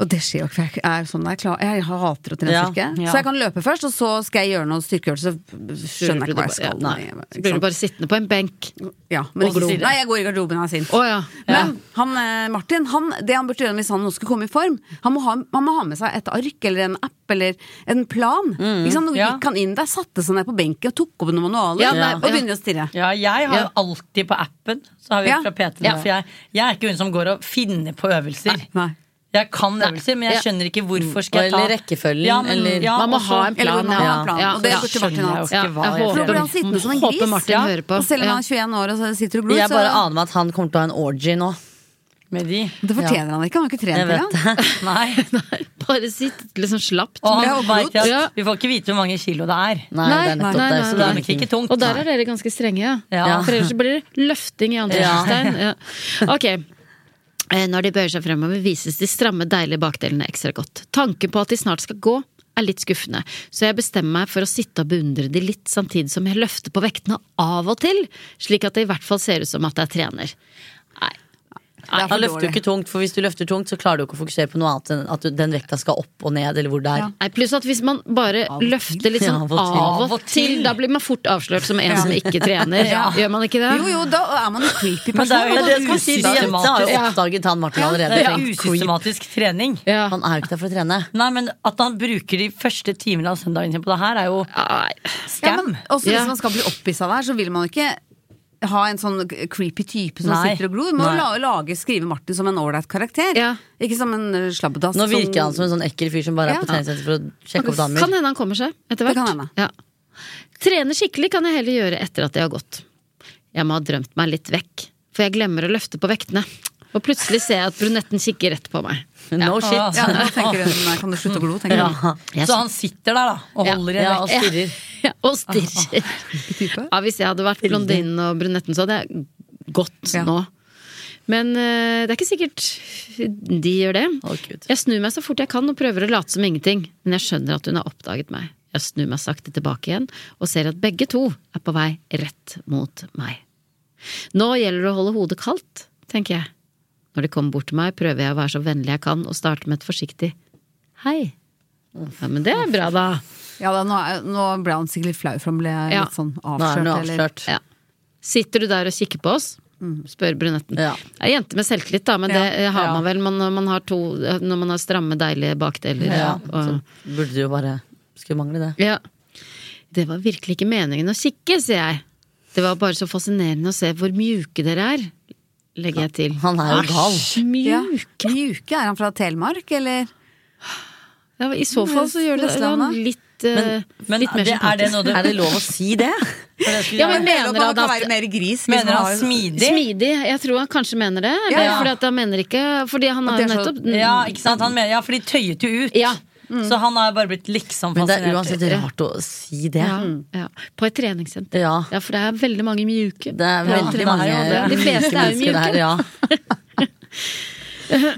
[SPEAKER 1] Og det skjer jo ikke, for jeg er sånn jeg, er klar. jeg hater å trene
[SPEAKER 5] Ja,
[SPEAKER 1] styrke.
[SPEAKER 5] ja.
[SPEAKER 1] Så jeg kan løpe først, og så skal jeg gjøre noen styrkeøvelser. Så skjønner jeg ikke hva jeg skal.
[SPEAKER 2] Nei,
[SPEAKER 1] med,
[SPEAKER 2] Så
[SPEAKER 1] ikke
[SPEAKER 2] blir du
[SPEAKER 1] sant?
[SPEAKER 2] bare sittende på en benk.
[SPEAKER 1] Ja, men
[SPEAKER 2] Og
[SPEAKER 1] ikke
[SPEAKER 2] glo.
[SPEAKER 1] si det. Nei, jeg går i garderoben og er sint.
[SPEAKER 2] Å ja.
[SPEAKER 1] Men han, eh, Martin, han, det han burde gjøre hvis han nå skulle komme i form, han må ha, han må ha med seg et ark eller en app eller en plan.
[SPEAKER 2] Mm.
[SPEAKER 1] Ikke sant? Nå
[SPEAKER 6] ja.
[SPEAKER 1] gikk han inn der, satte seg ned på benken og tok opp noen manualer
[SPEAKER 2] Ja, nei,
[SPEAKER 1] og
[SPEAKER 2] ja.
[SPEAKER 1] begynner å stirre.
[SPEAKER 6] Ja, jeg
[SPEAKER 2] Ja.
[SPEAKER 6] har jo alltid på appen. Så har vi
[SPEAKER 1] Ja.
[SPEAKER 6] fra PT
[SPEAKER 2] Ja.
[SPEAKER 6] For jeg, jeg er ikke hun som går og finner på øvelser.
[SPEAKER 1] Nei.
[SPEAKER 6] Jeg kan øvelser, men
[SPEAKER 2] Ja.
[SPEAKER 6] jeg skjønner ikke hvorfor skal jeg ta
[SPEAKER 5] Eller rekkefølgen, eller-
[SPEAKER 2] Man må
[SPEAKER 6] og så-
[SPEAKER 2] ha en
[SPEAKER 1] Eller
[SPEAKER 2] plan,
[SPEAKER 1] hvor man
[SPEAKER 2] ja.
[SPEAKER 1] har en plan.
[SPEAKER 2] Ja,
[SPEAKER 1] og det
[SPEAKER 2] ja.
[SPEAKER 1] burde Martin
[SPEAKER 6] Skjønner jeg
[SPEAKER 1] hatt.
[SPEAKER 6] jo.
[SPEAKER 2] Ja, jeg
[SPEAKER 6] Ikke hva jeg
[SPEAKER 1] For nå
[SPEAKER 2] håper,
[SPEAKER 1] blir han sittende som en gris.
[SPEAKER 2] håper Martin
[SPEAKER 6] Ja.
[SPEAKER 2] hører på.
[SPEAKER 1] Og selv om
[SPEAKER 2] Ja.
[SPEAKER 1] han er 21 år og sitter og glor,
[SPEAKER 5] Jeg
[SPEAKER 1] så
[SPEAKER 5] bare aner meg at han kommer til å ha en orgy nå.
[SPEAKER 6] med de.
[SPEAKER 1] Det fortjener han ikke. Han har ikke
[SPEAKER 5] Jeg
[SPEAKER 1] trent
[SPEAKER 5] vet
[SPEAKER 1] engang.
[SPEAKER 5] det.
[SPEAKER 6] Nei.
[SPEAKER 2] Nei, bare sitt liksom slapt.
[SPEAKER 6] Og
[SPEAKER 1] Ja,
[SPEAKER 6] han
[SPEAKER 1] og
[SPEAKER 6] vet
[SPEAKER 2] blod.
[SPEAKER 6] at
[SPEAKER 2] Ja.
[SPEAKER 6] vi får ikke vite hvor mange kilo det er.
[SPEAKER 5] Nei,
[SPEAKER 2] Nei,
[SPEAKER 5] det er nettopp
[SPEAKER 2] nei, nei, nei.
[SPEAKER 5] det. Så det
[SPEAKER 6] Det
[SPEAKER 5] er
[SPEAKER 6] er nok ikke tungt.
[SPEAKER 2] Og der er dere ganske strenge, ja.
[SPEAKER 6] Ja.
[SPEAKER 2] For ellers så blir det løfting i ansiktstegn. Ja. Ok. Eh, Når de bøyer seg fremover, vises de stramme, deilige bakdelene ekstra godt. Tanken på at de snart skal gå, er litt skuffende, så jeg bestemmer meg for å sitte og beundre de litt, samtidig som jeg løfter på vektene av og til, slik at det i hvert fall ser ut som at jeg trener. Nei.
[SPEAKER 1] Det er
[SPEAKER 5] Da
[SPEAKER 1] for
[SPEAKER 5] løfter du
[SPEAKER 1] dårlig.
[SPEAKER 5] ikke tungt, for hvis du løfter tungt, så klarer du ikke å fokusere på noe annet enn at du, den vekta skal opp og ned, eller hvor det er.
[SPEAKER 1] Ja.
[SPEAKER 2] Nei, pluss at hvis man bare løfter litt
[SPEAKER 5] Ja,
[SPEAKER 2] sånn
[SPEAKER 5] av og til.
[SPEAKER 2] av og
[SPEAKER 6] Av og
[SPEAKER 2] til,
[SPEAKER 6] til.
[SPEAKER 2] da blir man fort avslørt som en som ikke trener. Gjør man ikke det?
[SPEAKER 1] Jo, jo, da er man en creepy person.
[SPEAKER 6] det er jo-
[SPEAKER 1] og
[SPEAKER 6] det
[SPEAKER 1] da-
[SPEAKER 6] skal si,
[SPEAKER 5] De jentene har jo
[SPEAKER 2] Ja.
[SPEAKER 5] oppdaget han Martin allerede.
[SPEAKER 6] Det er
[SPEAKER 5] tenk, creep.
[SPEAKER 6] usystematisk trening.
[SPEAKER 2] Ja.
[SPEAKER 5] Han er jo ikke der for å trene.
[SPEAKER 6] Nei, men At han bruker de første timene av søndagen sin på det her, er jo
[SPEAKER 2] Nei.
[SPEAKER 1] Ja,
[SPEAKER 6] scam.
[SPEAKER 1] men også
[SPEAKER 2] Ja.
[SPEAKER 1] hvis man skal bli opphissa der, så vil man jo ikke ha en sånn creepy type som
[SPEAKER 6] Nei.
[SPEAKER 1] sitter og glor. Man må la- lage, skrive Martin som en ålreit karakter.
[SPEAKER 2] Ja.
[SPEAKER 1] Ikke som en eh, slabbedass.
[SPEAKER 5] Nå virker han som en sånn ekkel fyr som bare er på
[SPEAKER 1] Ja.
[SPEAKER 5] treningssenter for å sjekke opp
[SPEAKER 2] Kan
[SPEAKER 5] damer.
[SPEAKER 2] hende han kommer seg etter
[SPEAKER 1] Det
[SPEAKER 2] hvert.
[SPEAKER 1] kan hende.
[SPEAKER 2] Ja. Trene skikkelig kan jeg heller gjøre etter at jeg har gått. Jeg må ha drømt meg litt vekk, for jeg glemmer å løfte på vektene. Og plutselig ser jeg at brunetten kikker rett på meg.
[SPEAKER 5] No shit.
[SPEAKER 1] Ja, nå tenker hun, nei, kan du slutte å glo, tenker hun.
[SPEAKER 2] Jeg
[SPEAKER 6] Så han sitter der, da, og
[SPEAKER 2] Ja. altså,
[SPEAKER 6] holder i
[SPEAKER 5] Ja, og
[SPEAKER 6] vekt.
[SPEAKER 5] stirrer.
[SPEAKER 2] Ja, og
[SPEAKER 1] Ah,
[SPEAKER 2] stirrer. Ja, hvis jeg hadde vært blondinen og brunetten, så hadde jeg gått
[SPEAKER 1] Ja.
[SPEAKER 2] nå. Men eh, det er ikke sikkert de gjør det.
[SPEAKER 5] Å, Gud.
[SPEAKER 2] Jeg snur meg så fort jeg kan og prøver å late som ingenting, men jeg skjønner at hun har oppdaget meg. Jeg snur meg sakte tilbake igjen og ser at begge to er på vei rett mot meg. Nå gjelder det å holde hodet kaldt, tenker jeg. Når de kommer bort til meg, prøver jeg å være så vennlig jeg kan og starte med et forsiktig hei. Ja, men det er bra, da.
[SPEAKER 1] Ja, da, nå, er- nå ble han sikkert litt flau, for han ble
[SPEAKER 2] Ja.
[SPEAKER 1] litt sånn
[SPEAKER 5] Nå er
[SPEAKER 1] avslørt.
[SPEAKER 5] han jo
[SPEAKER 1] eller-
[SPEAKER 5] avslørt.
[SPEAKER 2] Ja. Sitter du der og kikker på oss? Spør brunetten.
[SPEAKER 5] Mm. Ja.
[SPEAKER 2] Jeg er jente med selvtillit, da, men
[SPEAKER 1] Ja.
[SPEAKER 2] det eh, har
[SPEAKER 5] Ja.
[SPEAKER 2] man vel man- når man har, to, når man har stramme, deilige bakdeler.
[SPEAKER 5] Ja,
[SPEAKER 2] og,
[SPEAKER 5] så burde du jo bare Skulle mangle det.
[SPEAKER 2] Ja. Det var virkelig ikke meningen å kikke, sier jeg. Det var bare så fascinerende å se hvor mjuke dere er, legger jeg til.
[SPEAKER 5] Han er jo gal.
[SPEAKER 1] Ja.
[SPEAKER 2] Mjuk?
[SPEAKER 1] Mjuke? Er han fra Telemark, eller?
[SPEAKER 2] Ja, I så fall så gjør det det er han litt, eh,
[SPEAKER 6] Men
[SPEAKER 2] litt mer
[SPEAKER 6] det, er det
[SPEAKER 2] sympatisk.
[SPEAKER 6] noe du
[SPEAKER 5] Er det lov å si det?
[SPEAKER 6] For det skulle
[SPEAKER 2] Ja, men
[SPEAKER 6] jeg-
[SPEAKER 2] mener
[SPEAKER 1] han
[SPEAKER 2] han
[SPEAKER 1] kan
[SPEAKER 2] at-
[SPEAKER 1] være mer gris? hvis
[SPEAKER 6] Mener han
[SPEAKER 1] har-
[SPEAKER 6] smidig?
[SPEAKER 2] Smidig. Jeg tror han kanskje mener det.
[SPEAKER 1] Ja,
[SPEAKER 2] Eller
[SPEAKER 1] ja.
[SPEAKER 2] fordi at han mener ikke Fordi han har
[SPEAKER 1] det
[SPEAKER 2] jo
[SPEAKER 1] er så-
[SPEAKER 2] nettopp
[SPEAKER 6] Ja, ikke sant? Han mener, ja, for de tøyet jo ut.
[SPEAKER 2] Ja.
[SPEAKER 6] Så han har jo bare blitt liksom
[SPEAKER 5] Men det
[SPEAKER 6] fascinert.
[SPEAKER 5] er uansett rart å si det.
[SPEAKER 2] ja, ja. På et treningssenter.
[SPEAKER 5] Ja.
[SPEAKER 2] Ja, for det er veldig mange mjuke.
[SPEAKER 5] Det er veldig mange
[SPEAKER 2] det er jo det. De
[SPEAKER 5] mjuke
[SPEAKER 2] fleste er jo
[SPEAKER 5] mennesker
[SPEAKER 2] mjuke.
[SPEAKER 5] der. Ja.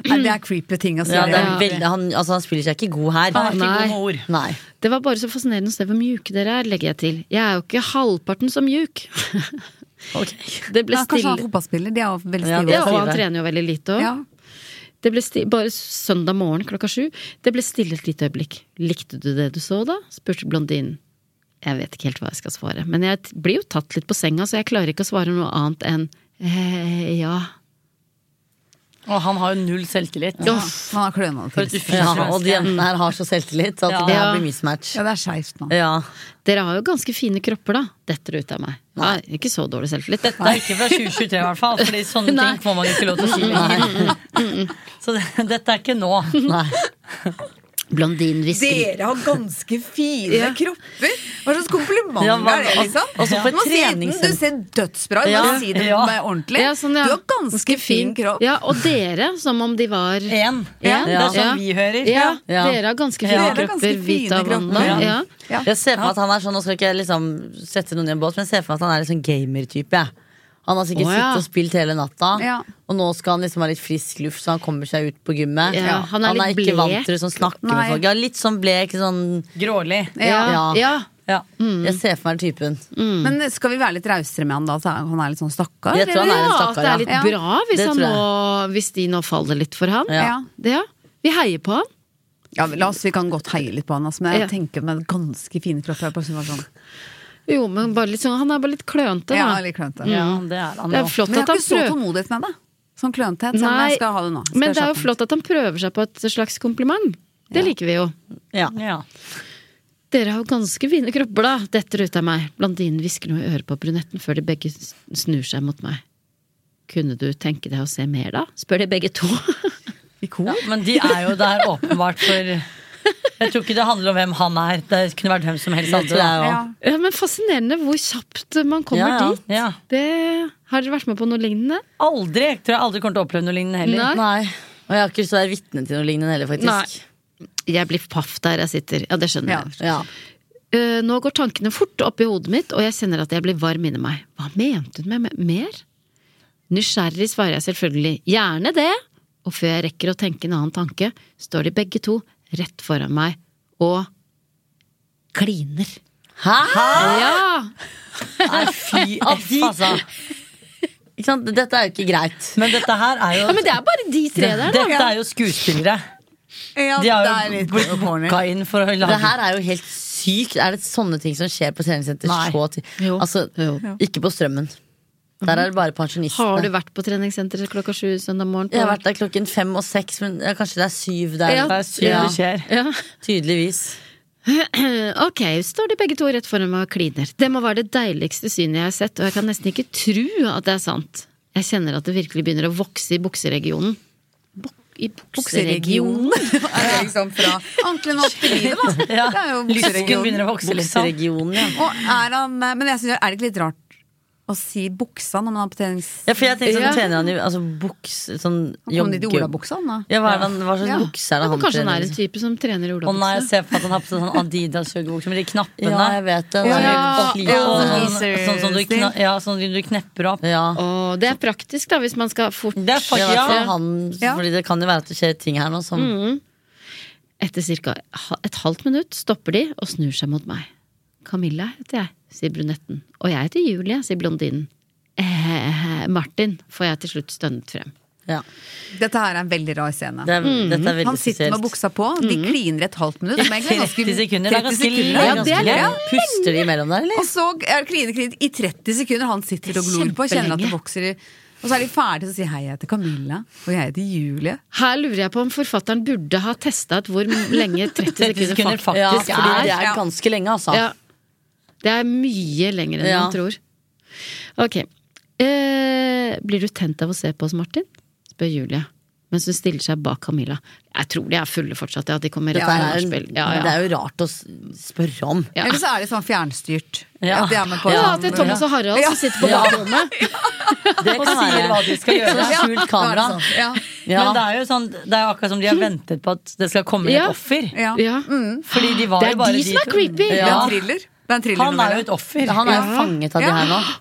[SPEAKER 1] Nei, det er creepy ting å si.
[SPEAKER 5] Ja, det er
[SPEAKER 2] Ja.
[SPEAKER 5] veldig, han, altså, han spiller seg ikke god
[SPEAKER 2] Ah,
[SPEAKER 5] her.
[SPEAKER 6] Han er ikke
[SPEAKER 2] Nei.
[SPEAKER 6] god med ord.
[SPEAKER 5] Nei.
[SPEAKER 2] Det var bare så fascinerende å se hvor mjuke dere er, legger jeg til. Jeg er jo ikke halvparten så mjuk. Det ble
[SPEAKER 1] Ja, kanskje han er
[SPEAKER 2] stille
[SPEAKER 1] fotballspiller. De er jo veldig
[SPEAKER 5] Ja,
[SPEAKER 1] stive.
[SPEAKER 2] Ja,
[SPEAKER 5] det
[SPEAKER 2] og han
[SPEAKER 5] Syve.
[SPEAKER 2] trener jo veldig lite òg.
[SPEAKER 1] Ja.
[SPEAKER 2] Det ble sti bare søndag morgen klokka sju. Det ble stille et lite øyeblikk. Likte du det du så, da? spurte blondinen. Jeg vet ikke helt hva jeg skal svare, men jeg t- blir jo tatt litt på senga, så jeg klarer ikke å svare noe annet enn eh, ja.
[SPEAKER 6] Og han har jo null selvtillit.
[SPEAKER 1] Han har klønete
[SPEAKER 6] For et
[SPEAKER 1] tilstand.
[SPEAKER 6] ufyselig
[SPEAKER 5] Ja, og
[SPEAKER 6] menneske.
[SPEAKER 5] de jentene her har så selvtillit
[SPEAKER 2] Ja.
[SPEAKER 5] at det her blir mismatch.
[SPEAKER 1] Ja, det er skeivt nå.
[SPEAKER 5] Ja.
[SPEAKER 2] Dere har jo ganske fine kropper, da. Detter det ut av meg. Nei, ikke så dårlig selvtillit.
[SPEAKER 6] Dette er ikke fra 2023 i hvert fall, Fordi sånne ting får man ikke lov til å si lenger. Så det, dette er ikke nå.
[SPEAKER 5] Nei.
[SPEAKER 2] Blondinen hvisker.
[SPEAKER 1] Dere har ganske fine kropper! Hva slags komplimenter
[SPEAKER 5] Ja, hva-
[SPEAKER 1] er det, liksom?
[SPEAKER 5] og- også på et
[SPEAKER 1] Du må si enten
[SPEAKER 5] treningssenter.
[SPEAKER 1] Du ser dødsbra ut,
[SPEAKER 5] Ja,
[SPEAKER 1] bare si det
[SPEAKER 6] ja.
[SPEAKER 1] med ordentlig.
[SPEAKER 2] Ja, sånn, ja.
[SPEAKER 1] Du har ganske fin kropp.
[SPEAKER 2] Ja, og dere, som om de var
[SPEAKER 6] Én.
[SPEAKER 2] Ja.
[SPEAKER 6] Det er sånn
[SPEAKER 2] Ja.
[SPEAKER 6] vi hører.
[SPEAKER 2] Ja,
[SPEAKER 5] Ja.
[SPEAKER 2] dere har ganske
[SPEAKER 1] Dere
[SPEAKER 2] fine
[SPEAKER 1] har ganske
[SPEAKER 2] kropper, Vita
[SPEAKER 1] fine
[SPEAKER 2] og Wanda.
[SPEAKER 1] kropper,
[SPEAKER 2] Ja.
[SPEAKER 1] Ja.
[SPEAKER 5] Jeg ser for meg at han er sånn, nå skal ikke jeg liksom sette noen i en bås, men jeg ser for meg at han er litt sånn gamer-type. jeg. Han har sikkert
[SPEAKER 2] Å, ja.
[SPEAKER 5] sittet og spilt hele natta,
[SPEAKER 1] Ja.
[SPEAKER 5] og nå skal han liksom ha litt frisk luft, så han kommer seg ut på gymmet.
[SPEAKER 2] Ja, han er litt
[SPEAKER 5] ikke vant
[SPEAKER 2] blek.
[SPEAKER 5] til å sånn snakke
[SPEAKER 1] Nei.
[SPEAKER 5] med folk. Ja, litt sånn blek, sånn
[SPEAKER 6] Grålig.
[SPEAKER 2] Ja. Mm.
[SPEAKER 5] Ja.
[SPEAKER 2] ja.
[SPEAKER 6] Ja.
[SPEAKER 5] Jeg ser for meg den typen.
[SPEAKER 1] Men skal vi være litt rausere med han da? At han er litt sånn stakkar?
[SPEAKER 5] Jeg tror han er en
[SPEAKER 2] Ja,
[SPEAKER 5] stakkar,
[SPEAKER 2] at det er litt
[SPEAKER 5] ja.
[SPEAKER 2] bra hvis,
[SPEAKER 5] Det
[SPEAKER 2] han
[SPEAKER 5] tror
[SPEAKER 2] nå, hvis de nå faller litt for han.
[SPEAKER 1] Ja.
[SPEAKER 2] Det, ja. Vi heier på han.
[SPEAKER 1] Ja, men la oss, Vi kan godt heie litt på han, altså, men jeg
[SPEAKER 2] Ja.
[SPEAKER 1] tenker med ganske fine kropper. Jeg bare synes det var sånn.
[SPEAKER 2] Jo, men bare litt sånn, han er bare litt klønete,
[SPEAKER 1] Ja,
[SPEAKER 2] da. Mm.
[SPEAKER 1] litt klønete.
[SPEAKER 6] Ja, det er han
[SPEAKER 2] Det er
[SPEAKER 6] nå.
[SPEAKER 2] flott
[SPEAKER 1] Men jeg
[SPEAKER 2] at
[SPEAKER 1] har
[SPEAKER 2] han
[SPEAKER 1] ikke så
[SPEAKER 2] prøver
[SPEAKER 1] tålmodighet med det. Sånn klønethet. Som
[SPEAKER 2] Nei,
[SPEAKER 1] jeg skal ha det nå. Skal
[SPEAKER 2] Men
[SPEAKER 1] jeg
[SPEAKER 2] det er jo
[SPEAKER 1] slappe av.
[SPEAKER 2] flott at han prøver seg på et slags kompliment. Det liker vi jo.
[SPEAKER 5] Ja.
[SPEAKER 6] Ja.
[SPEAKER 2] Dere har jo ganske fine kropper, da. Detter ut av meg. Blondinen hvisker noe i øret på brunetten før de begge s- snur seg mot meg. Kunne du tenke deg å se mer, da? spør de begge to.
[SPEAKER 6] Ja, men de er jo der åpenbart for Jeg tror ikke det handler om hvem han er. Det kunne vært hvem som helst
[SPEAKER 5] Det
[SPEAKER 6] andre.
[SPEAKER 5] tror jeg
[SPEAKER 1] Ja.
[SPEAKER 5] òg.
[SPEAKER 2] Ja, men fascinerende hvor kjapt man kommer
[SPEAKER 5] Ja, ja.
[SPEAKER 2] dit.
[SPEAKER 6] Ja.
[SPEAKER 2] Det, har dere vært med på noe lignende?
[SPEAKER 6] Aldri! Jeg tror jeg aldri kommer til å oppleve noe lignende heller.
[SPEAKER 2] Nei.
[SPEAKER 5] Nei. Og jeg har ikke lyst til å være vitne til noe lignende heller, faktisk.
[SPEAKER 2] Jeg blir paff der jeg sitter. Ja, det skjønner
[SPEAKER 1] Ja.
[SPEAKER 2] jeg.
[SPEAKER 5] Ja.
[SPEAKER 2] Eh, nå går tankene fort opp i hodet mitt, og jeg kjenner at jeg blir varm inni meg. Hva mente hun med me- mer? Nysgjerrig svarer jeg selvfølgelig gjerne det, og før jeg rekker å tenke en annen tanke, står de begge to rett foran meg og kliner.
[SPEAKER 5] Hæ?
[SPEAKER 2] Ah! Ja!
[SPEAKER 6] Nei, fy F, altså.
[SPEAKER 5] Ikke sant? Dette er jo ikke greit.
[SPEAKER 6] Men dette her er jo
[SPEAKER 2] Men det er bare de tre der, da.
[SPEAKER 6] Dette er jo skuespillere.
[SPEAKER 1] Ja,
[SPEAKER 6] De
[SPEAKER 1] det er
[SPEAKER 6] har jo
[SPEAKER 1] litt
[SPEAKER 6] blitt
[SPEAKER 1] corny.
[SPEAKER 6] booka inn for å
[SPEAKER 5] Det
[SPEAKER 6] lage
[SPEAKER 5] her er jo helt sykt. Er det sånne ting som skjer på treningssenter?
[SPEAKER 6] Nei.
[SPEAKER 5] Så ti-
[SPEAKER 2] Jo.
[SPEAKER 5] Altså,
[SPEAKER 2] Jo.
[SPEAKER 5] ikke på Strømmen. Der er det bare pensjonistene.
[SPEAKER 2] Har du vært på treningssenteret klokka sju søndag morgen? på-
[SPEAKER 5] Jeg har vært der klokken fem og seks, men ja, kanskje det er syv der.
[SPEAKER 2] Ja.
[SPEAKER 6] Det er sykt det skjer.
[SPEAKER 2] Ja.
[SPEAKER 5] Tydeligvis.
[SPEAKER 2] Eh, Ok, står de begge to rett foran meg og kliner. Det må være det deiligste synet jeg har sett, og jeg kan nesten ikke tro at det er sant. Jeg kjenner at det virkelig begynner å vokse i bukseregionen. Bok- I bukseregionen?
[SPEAKER 1] Er det liksom fra ankelen og opp til livet, da?
[SPEAKER 6] Ja.
[SPEAKER 1] Det er jo
[SPEAKER 6] Lysken
[SPEAKER 1] bukseregionen.
[SPEAKER 6] begynner å vokse litt sånn.
[SPEAKER 5] Bukseregionen, ja.
[SPEAKER 1] Og er han eh, Men jeg synes, er det ikke litt rart å si buksa når man har på trenings...
[SPEAKER 5] ja. For jeg tenker sånn,
[SPEAKER 2] Ja.
[SPEAKER 5] trener han jo altså, buks, sånn
[SPEAKER 1] Han kom dit i
[SPEAKER 5] jogge-
[SPEAKER 1] olabuksa, han da.
[SPEAKER 5] Ja, hva, er det han, hva slags
[SPEAKER 1] Ja.
[SPEAKER 5] bukse er
[SPEAKER 2] Ja,
[SPEAKER 5] det
[SPEAKER 2] men
[SPEAKER 5] han
[SPEAKER 2] kanskje han er
[SPEAKER 5] trener?
[SPEAKER 2] en type som trener i
[SPEAKER 6] Å nei,
[SPEAKER 2] olabukse?
[SPEAKER 6] jeg ser på at han har på seg sånn Adidas-joggebukse med de knappene.
[SPEAKER 5] Ja, jeg vet det.
[SPEAKER 6] Sånn,
[SPEAKER 1] Ja,
[SPEAKER 6] og-
[SPEAKER 1] ja,
[SPEAKER 6] og
[SPEAKER 1] sånn
[SPEAKER 6] sånn, sånn som du,
[SPEAKER 1] stil.
[SPEAKER 6] kna, ja, sånn som du knepper opp.
[SPEAKER 5] Ja.
[SPEAKER 2] Å, det er praktisk, da, hvis man skal fort
[SPEAKER 6] Det er
[SPEAKER 5] Det er i
[SPEAKER 6] faktisk
[SPEAKER 5] hvert fall
[SPEAKER 6] ja.
[SPEAKER 5] han,
[SPEAKER 1] Ja. Mm.
[SPEAKER 5] fordi det kan jo være at det skjer ting her nå som
[SPEAKER 2] Etter ca. et halvt minutt stopper de og snur seg mot meg. Camilla heter jeg, sier brunetten. Og jeg heter Julie, sier blondinen. Eh, Martin, får jeg til slutt stønnet frem.
[SPEAKER 5] ja.
[SPEAKER 1] Dette her er en veldig rar scene.
[SPEAKER 5] det er, Dette er veldig
[SPEAKER 1] Mm. Han sitter med
[SPEAKER 5] spesielt.
[SPEAKER 1] buksa på, de kliner et halvt minutt. som egentlig er ganske-
[SPEAKER 6] 30 sekunder, det er
[SPEAKER 1] 30
[SPEAKER 6] ganske
[SPEAKER 1] sekunder.
[SPEAKER 6] lenge.
[SPEAKER 1] Ja, det er lenge.
[SPEAKER 5] Puster de imellom der, eller?
[SPEAKER 1] Og så er det kline, kline i 30 sekunder. Han sitter og glor på og kjenner at det
[SPEAKER 2] Kjempelenge.
[SPEAKER 1] vokser i Og så er de ferdige og sier hei, jeg heter Camilla. Og jeg heter Julie.
[SPEAKER 2] Her lurer jeg på om forfatteren burde ha testa ut hvor lenge 30
[SPEAKER 6] 30 sekunder
[SPEAKER 2] faktisk
[SPEAKER 5] Ja,
[SPEAKER 6] faktisk
[SPEAKER 5] fordi
[SPEAKER 6] er
[SPEAKER 5] det er
[SPEAKER 1] Ja.
[SPEAKER 5] ganske lenge, altså.
[SPEAKER 2] Ja. Det er mye lenger enn
[SPEAKER 5] Ja.
[SPEAKER 2] man tror. Ok. Eh, blir du tent av å se på oss, Martin? spør Julie. Mens hun stiller seg bak Camilla. Jeg tror de er fulle fortsatt. Ja, de kommer rett
[SPEAKER 5] Dette
[SPEAKER 2] fra
[SPEAKER 5] er,
[SPEAKER 2] nachspiel. Ja,
[SPEAKER 5] Det
[SPEAKER 2] ja.
[SPEAKER 5] er jo rart å s- spørre om.
[SPEAKER 2] Ja.
[SPEAKER 1] Eller så er de sånn fjernstyrt.
[SPEAKER 6] Ja.
[SPEAKER 1] At de er med på
[SPEAKER 2] ja,
[SPEAKER 1] sånn-
[SPEAKER 2] at det er Thomas og Harald som sitter på
[SPEAKER 5] Ja.
[SPEAKER 2] bakrommet.
[SPEAKER 5] Det
[SPEAKER 6] Og sier hva de skal gjøre.
[SPEAKER 5] Sånn skjult kamera.
[SPEAKER 1] Nå er det sånn. Ja.
[SPEAKER 5] Ja.
[SPEAKER 6] Men det er jo sånn, det er jo akkurat som de har ventet på at det skal komme
[SPEAKER 2] Ja.
[SPEAKER 6] et offer.
[SPEAKER 1] Ja.
[SPEAKER 2] Ja.
[SPEAKER 6] Fordi de var
[SPEAKER 2] Det er
[SPEAKER 6] jo bare
[SPEAKER 2] de som er
[SPEAKER 6] to.
[SPEAKER 2] creepy.
[SPEAKER 1] Det er
[SPEAKER 6] Ja.
[SPEAKER 1] en thriller. Det er en
[SPEAKER 6] Han er jo
[SPEAKER 1] thrillernovelle.
[SPEAKER 6] et offer.
[SPEAKER 5] Han er jo fanget av de
[SPEAKER 1] Ja.
[SPEAKER 5] her nå.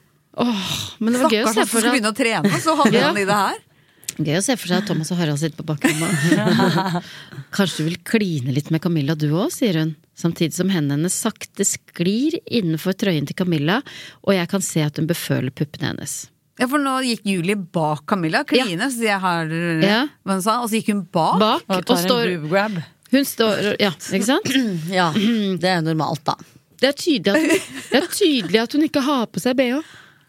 [SPEAKER 2] Men det var gøy å
[SPEAKER 1] Stakkars
[SPEAKER 2] se for
[SPEAKER 1] som skulle
[SPEAKER 2] seg
[SPEAKER 1] begynne å trene, og så havner
[SPEAKER 2] Ja.
[SPEAKER 1] han i det her.
[SPEAKER 2] Gøy å se for seg at Thomas og Harald sitter på bakrommet. Kanskje du vil kline litt med Camilla du òg, sier hun. Samtidig som hendene hennes sakte sklir innenfor trøyen til Camilla, og jeg kan se at hun beføler puppene hennes.
[SPEAKER 1] Ja, for nå gikk Julie bak Camilla, kline, så sier jeg har eh,
[SPEAKER 2] Ja.
[SPEAKER 1] hva hun sa, og så gikk hun bak.
[SPEAKER 2] Bak
[SPEAKER 6] Og
[SPEAKER 2] og
[SPEAKER 6] tar en
[SPEAKER 2] står
[SPEAKER 6] boob grab.
[SPEAKER 2] Hun står Ja, ikke sant?
[SPEAKER 5] Ja, det er jo normalt, da.
[SPEAKER 2] Det er tydelig at hun, det er tydelig at hun ikke har på seg bh.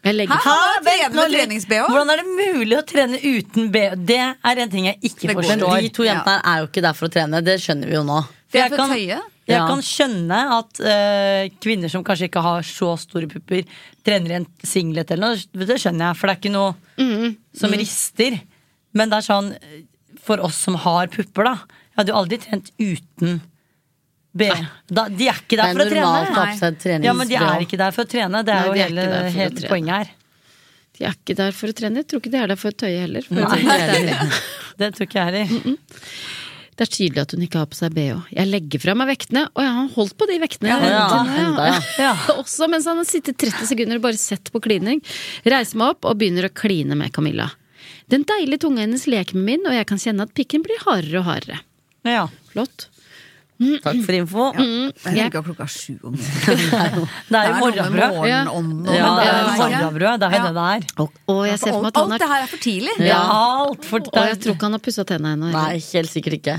[SPEAKER 2] Jeg legger
[SPEAKER 1] Hæ? Han er trener med trenings-BH.
[SPEAKER 6] Hvordan er det mulig å trene uten BH? Det er en ting jeg ikke
[SPEAKER 1] Det går
[SPEAKER 5] Men
[SPEAKER 6] forstår.
[SPEAKER 5] de to jentene her er jo ikke der for å trene, det skjønner vi jo nå.
[SPEAKER 1] Det
[SPEAKER 6] Jeg
[SPEAKER 1] er for
[SPEAKER 6] kan-
[SPEAKER 1] tøye.
[SPEAKER 6] Jeg
[SPEAKER 5] Ja.
[SPEAKER 6] kan skjønne at eh, kvinner som kanskje ikke har så store pupper, trener i en singlet eller noe. Det skjønner jeg, for det er ikke noe som rister. Men det er sånn eh, for oss som har pupper, da. Jeg hadde jo aldri trent uten B. Da, de er ikke
[SPEAKER 5] Det
[SPEAKER 6] der
[SPEAKER 5] er
[SPEAKER 6] for å
[SPEAKER 5] normalt å ha på
[SPEAKER 6] trene.
[SPEAKER 5] seg trenings-
[SPEAKER 6] Ja, men de er ikke der for å trene. Det er
[SPEAKER 2] Nei, de er
[SPEAKER 6] jo hele,
[SPEAKER 2] ikke der for å
[SPEAKER 6] hele
[SPEAKER 2] trene.
[SPEAKER 6] poenget her.
[SPEAKER 2] De er ikke der for å trene. Jeg tror ikke de er der for å tøye heller. For å
[SPEAKER 6] Nei.
[SPEAKER 2] si det helt ærlig.
[SPEAKER 6] Det tror ikke jeg heller.
[SPEAKER 2] Det er tydelig at hun ikke har på seg bh. Jeg legger fra meg vektene, og jeg har holdt på de vektene.
[SPEAKER 5] Ja, ja,
[SPEAKER 2] Til nå,
[SPEAKER 5] enda, ja.
[SPEAKER 2] Ja. Også mens han har sittet 30 sekunder og bare sett på klining. Reiser meg opp og begynner å kline med Camilla. Den deilige tunga hennes leker med min, og jeg kan kjenne at pikken blir hardere og hardere.
[SPEAKER 6] Ja.
[SPEAKER 2] Flott.
[SPEAKER 5] Takk for info.
[SPEAKER 1] Jeg tenker klokka sju om morgenen.
[SPEAKER 6] Det
[SPEAKER 1] Det
[SPEAKER 6] er
[SPEAKER 1] er
[SPEAKER 6] jo
[SPEAKER 1] noe med
[SPEAKER 6] morgenbrød.
[SPEAKER 1] morgenånden.
[SPEAKER 6] Ja, det er
[SPEAKER 1] og-
[SPEAKER 6] jo morgenbrød. Det er jo
[SPEAKER 1] Ja.
[SPEAKER 6] det det er.
[SPEAKER 2] Og, og jeg ser for meg
[SPEAKER 1] Alt,
[SPEAKER 2] at han
[SPEAKER 1] alt det
[SPEAKER 2] har
[SPEAKER 1] her er for tidlig.
[SPEAKER 6] Ja, alt for
[SPEAKER 2] Og jeg tror ikke han har pussa tenna ennå.
[SPEAKER 5] Nei, helt sikkert ikke.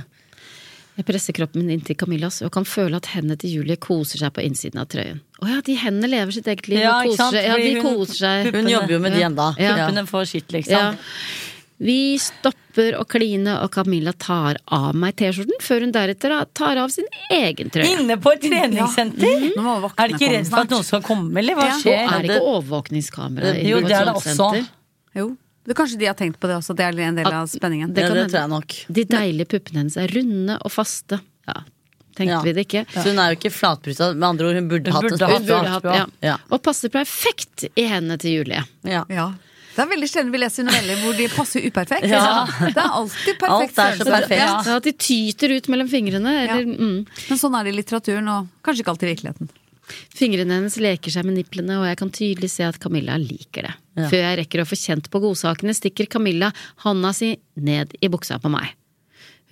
[SPEAKER 2] Jeg presser kroppen min inntil Camillas og kan føle at hendene til Julie koser seg på innsiden av trøyen. Å ja, de hendene lever sitt eget liv
[SPEAKER 6] Ja,
[SPEAKER 2] og
[SPEAKER 6] ikke sant?
[SPEAKER 2] koser seg. Ja, de
[SPEAKER 6] Fordi hun-
[SPEAKER 2] koser seg.
[SPEAKER 5] Hun jobber jo med de enda.
[SPEAKER 2] Ja.
[SPEAKER 6] Puppene får skitt,
[SPEAKER 2] Ja.
[SPEAKER 6] liksom.
[SPEAKER 2] Vi stopper å kline, og Camilla tar av meg T-skjorten før hun deretter tar av sin egen trøye.
[SPEAKER 6] Inne på et treningssenter!
[SPEAKER 1] Nå må
[SPEAKER 6] Er de
[SPEAKER 1] vaktene
[SPEAKER 6] ikke
[SPEAKER 1] komme
[SPEAKER 6] redd for at
[SPEAKER 1] snart.
[SPEAKER 6] noen skal komme, eller hva
[SPEAKER 1] Ja.
[SPEAKER 2] Så
[SPEAKER 6] skjer?
[SPEAKER 2] er det ikke overvåkningskamera i
[SPEAKER 6] Jo, det er det
[SPEAKER 2] informasjonssenter.
[SPEAKER 6] også.
[SPEAKER 1] Jo. Det, kanskje de har tenkt på det også, at det er en del av spenningen.
[SPEAKER 2] Det
[SPEAKER 5] Det,
[SPEAKER 2] kan
[SPEAKER 5] det
[SPEAKER 2] hende.
[SPEAKER 5] tror jeg nok.
[SPEAKER 2] De deilige puppene hennes er runde og faste. Ja, tenkte
[SPEAKER 5] Ja.
[SPEAKER 2] vi det ikke.
[SPEAKER 5] Så hun er jo ikke flatbrusa. Med andre ord, hun burde hatt
[SPEAKER 6] burde
[SPEAKER 5] det.
[SPEAKER 2] Hun burde hatt, ja.
[SPEAKER 5] Ja.
[SPEAKER 2] Og passer perfekt i hendene til Julie.
[SPEAKER 5] Ja.
[SPEAKER 1] Ja. Det er veldig sjelden vi leser noveller hvor de passer uperfekt.
[SPEAKER 5] Ja.
[SPEAKER 1] Det er alltid perfekt.
[SPEAKER 5] Alt er så
[SPEAKER 1] størrelse.
[SPEAKER 5] perfekt.
[SPEAKER 1] Ja.
[SPEAKER 2] Ja, at de tyter ut mellom fingrene. Eller, mm.
[SPEAKER 1] Men sånn er det i litteraturen, og kanskje ikke alltid i virkeligheten.
[SPEAKER 2] Fingrene hennes leker seg med niplene, og jeg kan tydelig se at Camilla liker det. Før jeg rekker å få kjent på godsakene, stikker Camilla hånda si ned i buksa på meg.